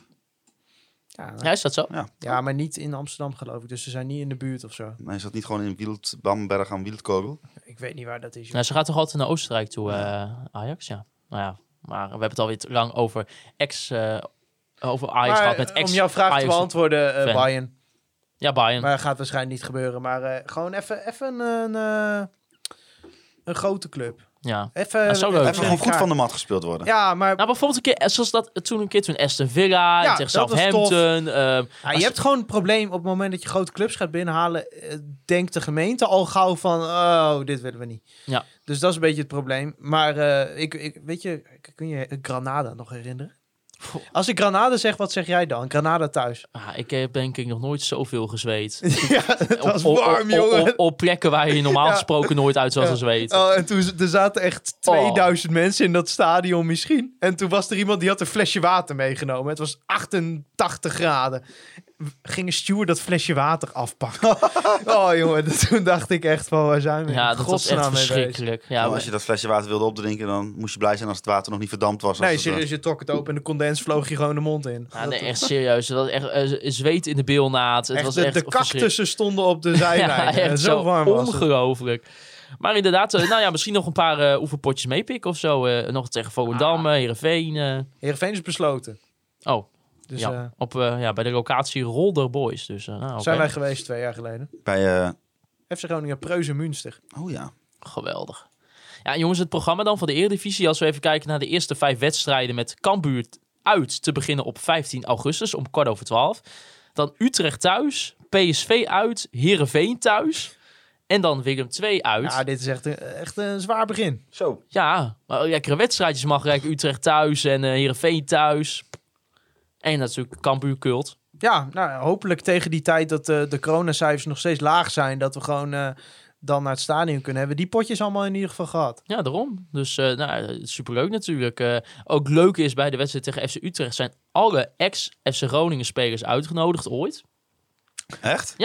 Ja,
ja, is dat zo?
ja, maar niet in Amsterdam geloof ik. Dus ze zijn niet in de buurt of zo.
Maar is dat niet gewoon in Wield, Bamberg aan Wieldkogel?
Ik weet niet waar dat is. joh.
Nou, ze gaat toch altijd naar Oostenrijk toe, eh, Ajax? Ja. Nou ja, maar we hebben het alweer te lang over ex... eh, over Ajax
Maar,
gehad met
eh,
ex...
om jouw vraag te
Ajax-
beantwoorden, eh,
fan.
Bayern.
Ja, Bayern.
Maar dat gaat waarschijnlijk niet gebeuren. Maar eh, gewoon even, even een, eh, een grote club.
Ja.
Even,
Dat zou leuk
Even
zijn.
gewoon goed van de mat gespeeld worden.
Ja, maar
Nou, bijvoorbeeld een keer, eh, zoals dat eh, toen een keer toen Aston Villa en
Ja,
tegen
dat was
Southampton. ehm,
Ja,
als-
je hebt gewoon een probleem op het moment dat je grote clubs gaat binnenhalen. eh, denkt de gemeente al gauw van: oh, dit willen we niet.
Ja.
Dus dat is een beetje het probleem. Maar eh, ik, ik, weet je, k- kun je Granada nog herinneren?
Goh.
Als ik Granada zeg, wat zeg jij dan? Granada thuis.
ah, ik heb denk ik nog nooit zoveel gezweet.
ja, het
Op-
was
op- op-
warm,
op-
jongen.
Op, op plekken waar je normaal
Ja.
gesproken nooit uit zou
Ja.
zweten.
Oh, en toen z- er zaten
Oh.
echt 2000 mensen in dat stadion misschien. En toen was er iemand die had een flesje water meegenomen. Het was 88 graden. W- Ging een steward dat flesje water afpakken. oh jongen, dat- toen dacht ik echt van waar zijn we? in
ja, dat was
godsnaam Oh,
echt
mee bezig?
verschrikkelijk. Ja,
Nou,
maar-
als je dat flesje water wilde opdrinken, dan moest je blij zijn als het water nog niet verdampt was. Als
Nee,
het, eh,
serieus, je trok het open en de condens vloog je gewoon de mond in.
ja,
Dat-
nee, echt serieus. Dat was echt eh, zweet in de bilnaad. Het
echt,
was
de,
echt
de
verschrikkelijk.
cactussen stonden op de zijlijn. Eh,
echt
zo warm was het.
Ongelooflijk. Maar inderdaad, eh, nou ja, misschien nog een paar eh, oefenpotjes meepikken of zo. eh, nog tegen Volendam,
Ah.
eh, Heerenveen. eh.
Heerenveen is besloten.
oh,
Dus
ja.
eh,
Op, eh, ja, bij de locatie Rolder Boys. Dus, eh, nou, oké.
zijn wij geweest twee jaar geleden.
bij, eh,
FC Groningen, Preuze, Münster.
oh ja.
Geweldig. Ja, en jongens, het programma dan van de Eredivisie. Als we even kijken naar de eerste vijf wedstrijden met Cambuur uit te beginnen op 15 augustus om kwart over 12. Dan Utrecht thuis, PSV uit, Heerenveen thuis. En dan Willem 2 uit.
Ja, dit is echt een, echt een zwaar begin.
Zo.
Ja, maar lekkere wedstrijdjes mag Rijk Utrecht thuis en eh Heerenveen thuis. En natuurlijk Cambuur Kult.
Ja, nou, hopelijk tegen die tijd dat eh, de coronacijfers nog steeds laag zijn, dat we gewoon eh, dan naar het stadion kunnen hebben. Die potjes allemaal in ieder geval gehad.
Ja, daarom. Dus eh nou, superleuk natuurlijk. Eh, ook leuk is bij de wedstrijd tegen FC Utrecht zijn alle ex-FC Groningen spelers uitgenodigd ooit.
Echt?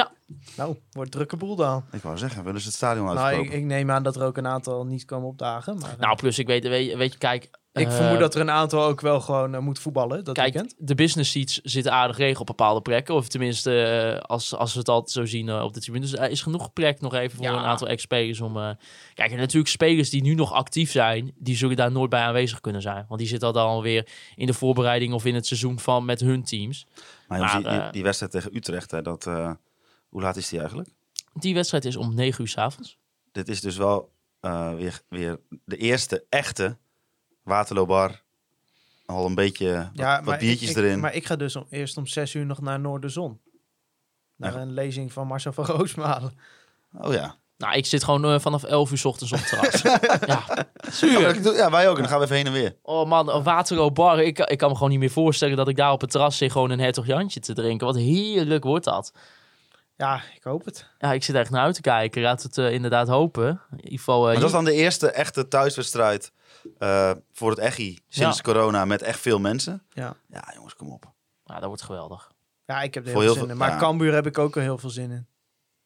Nou, wordt drukke boel dan.
Ik wou zeggen, willen ze het stadion
Nou,
uitkopen?
ik, ik neem aan dat er ook een aantal niet komen opdagen. Maar, eh,
Nou, plus ik weet, weet, weet je, kijk...
ik
eh,
vermoed dat er een aantal ook wel gewoon eh, moet voetballen dat
Kijk,
weekend.
de business seats zitten aardig regen op bepaalde plekken. Of tenminste, eh, als, als we het altijd zo zien eh, op de tribune. Dus er is genoeg plek nog even voor
Ja.
een aantal ex-spelers om... eh, Kijk, en natuurlijk spelers die nu nog actief zijn, die zullen daar nooit bij aanwezig kunnen zijn. Want die zitten dan alweer in de voorbereiding of in het seizoen van met hun teams.
maar jongens,
maar,
die,
eh,
die, die wedstrijd tegen Utrecht, hè, dat, eh, hoe laat is die eigenlijk?
Die wedstrijd is om 9 uur s'avonds.
Dit is dus wel eh, weer, weer de eerste echte Waterloobar. Al een beetje wat, wat
maar
biertjes
ik, ik-
erin.
Maar ik ga dus om, eerst om zes uur nog naar Noorderzon. Naar
Ja.
een lezing van Marcel van Roosmalen.
Oh ja.
Nou, ik zit gewoon eh, vanaf 11 uur 's ochtends op het terras. ja,
Ja,
zuur.
ik doe- ja, wij ook. En dan gaan we even heen en weer.
Oh man, een Waterloo Bar. Ik, ik kan me gewoon niet meer voorstellen dat ik daar op het terras zit gewoon een hertog Jantje te drinken. Wat heerlijk wordt dat.
Ja, ik hoop het.
Ja, ik zit echt naar uit te kijken. Laat het eh, inderdaad hopen. In ieder geval, eh,
Maar dat is dan de eerste echte thuiswedstrijd eh, voor het Echi sinds
Ja.
corona met echt veel mensen.
Ja.
Ja, jongens, kom op.
ja, Nou, dat wordt geweldig.
Ja, ik heb er
Voor
heel veel
heel
zin
veel-
in. Maar
ja.
Cambuur heb ik ook al heel veel zin in.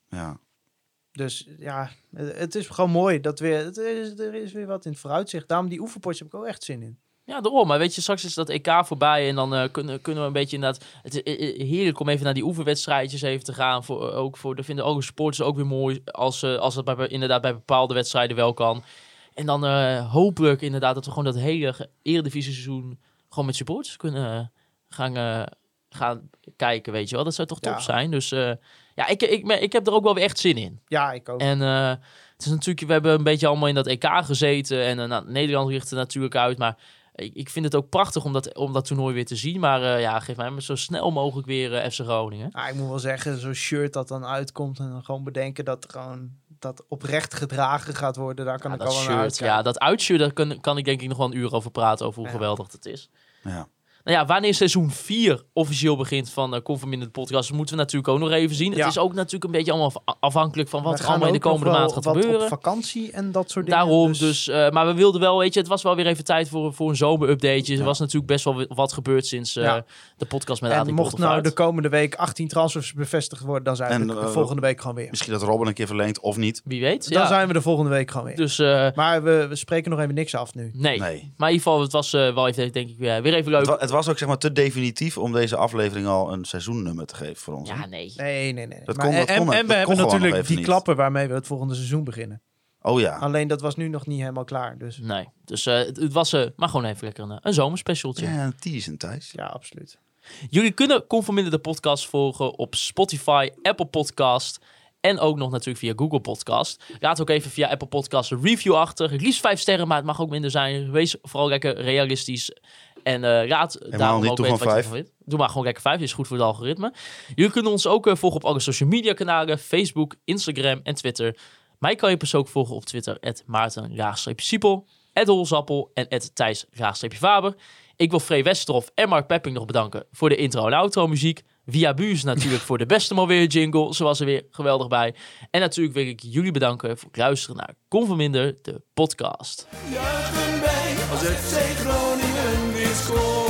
Ja.
Dus ja, het het is gewoon mooi dat weer, het is, er is weer wat in het vooruitzicht. Daarom die oefenpotjes heb ik ook echt zin in.
Ja, daarom. Maar weet je, straks is dat EK voorbij en dan eh, kunnen, kunnen we een beetje inderdaad... Het is eh, eh, heerlijk om even naar die oefenwedstrijdjes even te gaan. Voor, eh, ook voor, dat vinden ook supporters ook weer mooi als, eh, als dat bij, inderdaad bij bepaalde wedstrijden wel kan. En dan eh, hopelijk inderdaad dat we gewoon dat hele ge- eredivisie seizoen gewoon met supporters kunnen eh, gaan, eh, gaan kijken, weet je wel. Dat zou toch top
Ja.
zijn. Dus eh, ja, ik, ik, ik, ik heb er ook wel weer echt zin in.
Ja, ik ook.
En eh, het is natuurlijk, we hebben een beetje allemaal in dat EK gezeten. En eh, nou, Nederland richt er natuurlijk uit. Maar ik, ik vind het ook prachtig om dat, om dat toernooi weer te zien. Maar eh, ja, geef mij maar zo snel mogelijk weer eh, FC Groningen.
Ah, ik moet wel zeggen, zo'n shirt dat dan uitkomt en dan gewoon bedenken dat gewoon dat oprecht gedragen gaat worden, daar kan
Ja,
ik
dat
al aan
shirt,
uitkijken.
ja, dat uitshirt, daar kan, kan ik denk ik nog wel een uur over praten. Over hoe
Ja.
geweldig dat is.
Ja.
Nou ja, wanneer seizoen 4 officieel begint van eh Conform in de podcast, moeten we natuurlijk ook nog even zien.
Ja.
Het is ook natuurlijk een beetje allemaal af- afhankelijk van wat
We
er
gaan
allemaal in de
ook nog
komende
wel
maand gaat
wat
gebeuren.
op vakantie en dat soort dingen.
Daarom, dus, eh, maar we wilden wel, weet je, het was wel weer even tijd voor, voor een zomerupdateje. Er was natuurlijk best wel wi- wat gebeurd sinds eh,
Ja.
de podcast met Adi
en mocht nou
Pottevaart.
de komende week 18 transfers bevestigd worden, dan zijn
En,
we de
eh,
volgende week gewoon weer.
Misschien dat Robin een keer verlengt of niet.
Wie weet,
Dan
Dus, ja.
zijn we de volgende week gewoon weer.
Dus eh,
Maar we, we spreken nog even niks af nu.
nee.
Nee.
Maar in ieder geval, het was eh, wel even, denk ik, eh, weer even
Het,
leuk.
wa- het was ook zeg maar te definitief om deze aflevering al een seizoennummer te geven voor ons. hè?
Ja, nee.
Nee, nee, nee.
Dat
Maar-
kon- dat
en,
kon-
en
dat
we hebben
kon gewoon nog
natuurlijk
even
die
niet.
klappen waarmee we het volgende seizoen beginnen.
Oh ja.
Alleen dat was nu nog niet helemaal klaar. Dus
Nee. Dus eh, het, het was eh, maar gewoon even lekker een, eh, een zomerspecialtje.
Ja, een tease en Thijs.
ja, absoluut.
Jullie kunnen Conforminder de podcast volgen op Spotify, Apple Podcast en ook nog natuurlijk via Google Podcast. Raad ook even via Apple Podcast een review achter. Het Liefst vijf sterren, maar het mag ook minder zijn. Wees vooral lekker realistisch. En eh, raad daarom
niet,
ook
doe
even wat
gewoon
je
vijf.
ervan vindt. Doe maar gewoon lekker vijf, is goed voor het algoritme. Jullie kunnen ons ook eh, volgen op alle social media kanalen. Facebook, Instagram en Twitter. Mij kan je persoonlijk volgen op Twitter, maarten-siepel, holzappel en thijs-faber. Ik wil Free Westerhof en Mark Pepping nog bedanken voor de intro en outro muziek. Via Buus natuurlijk voor de beste alweer jingle. Ze was er weer geweldig bij. En natuurlijk wil ik jullie bedanken voor het luisteren naar Conforminder, de podcast.
Juichen wij als FC Groningen weer scoort.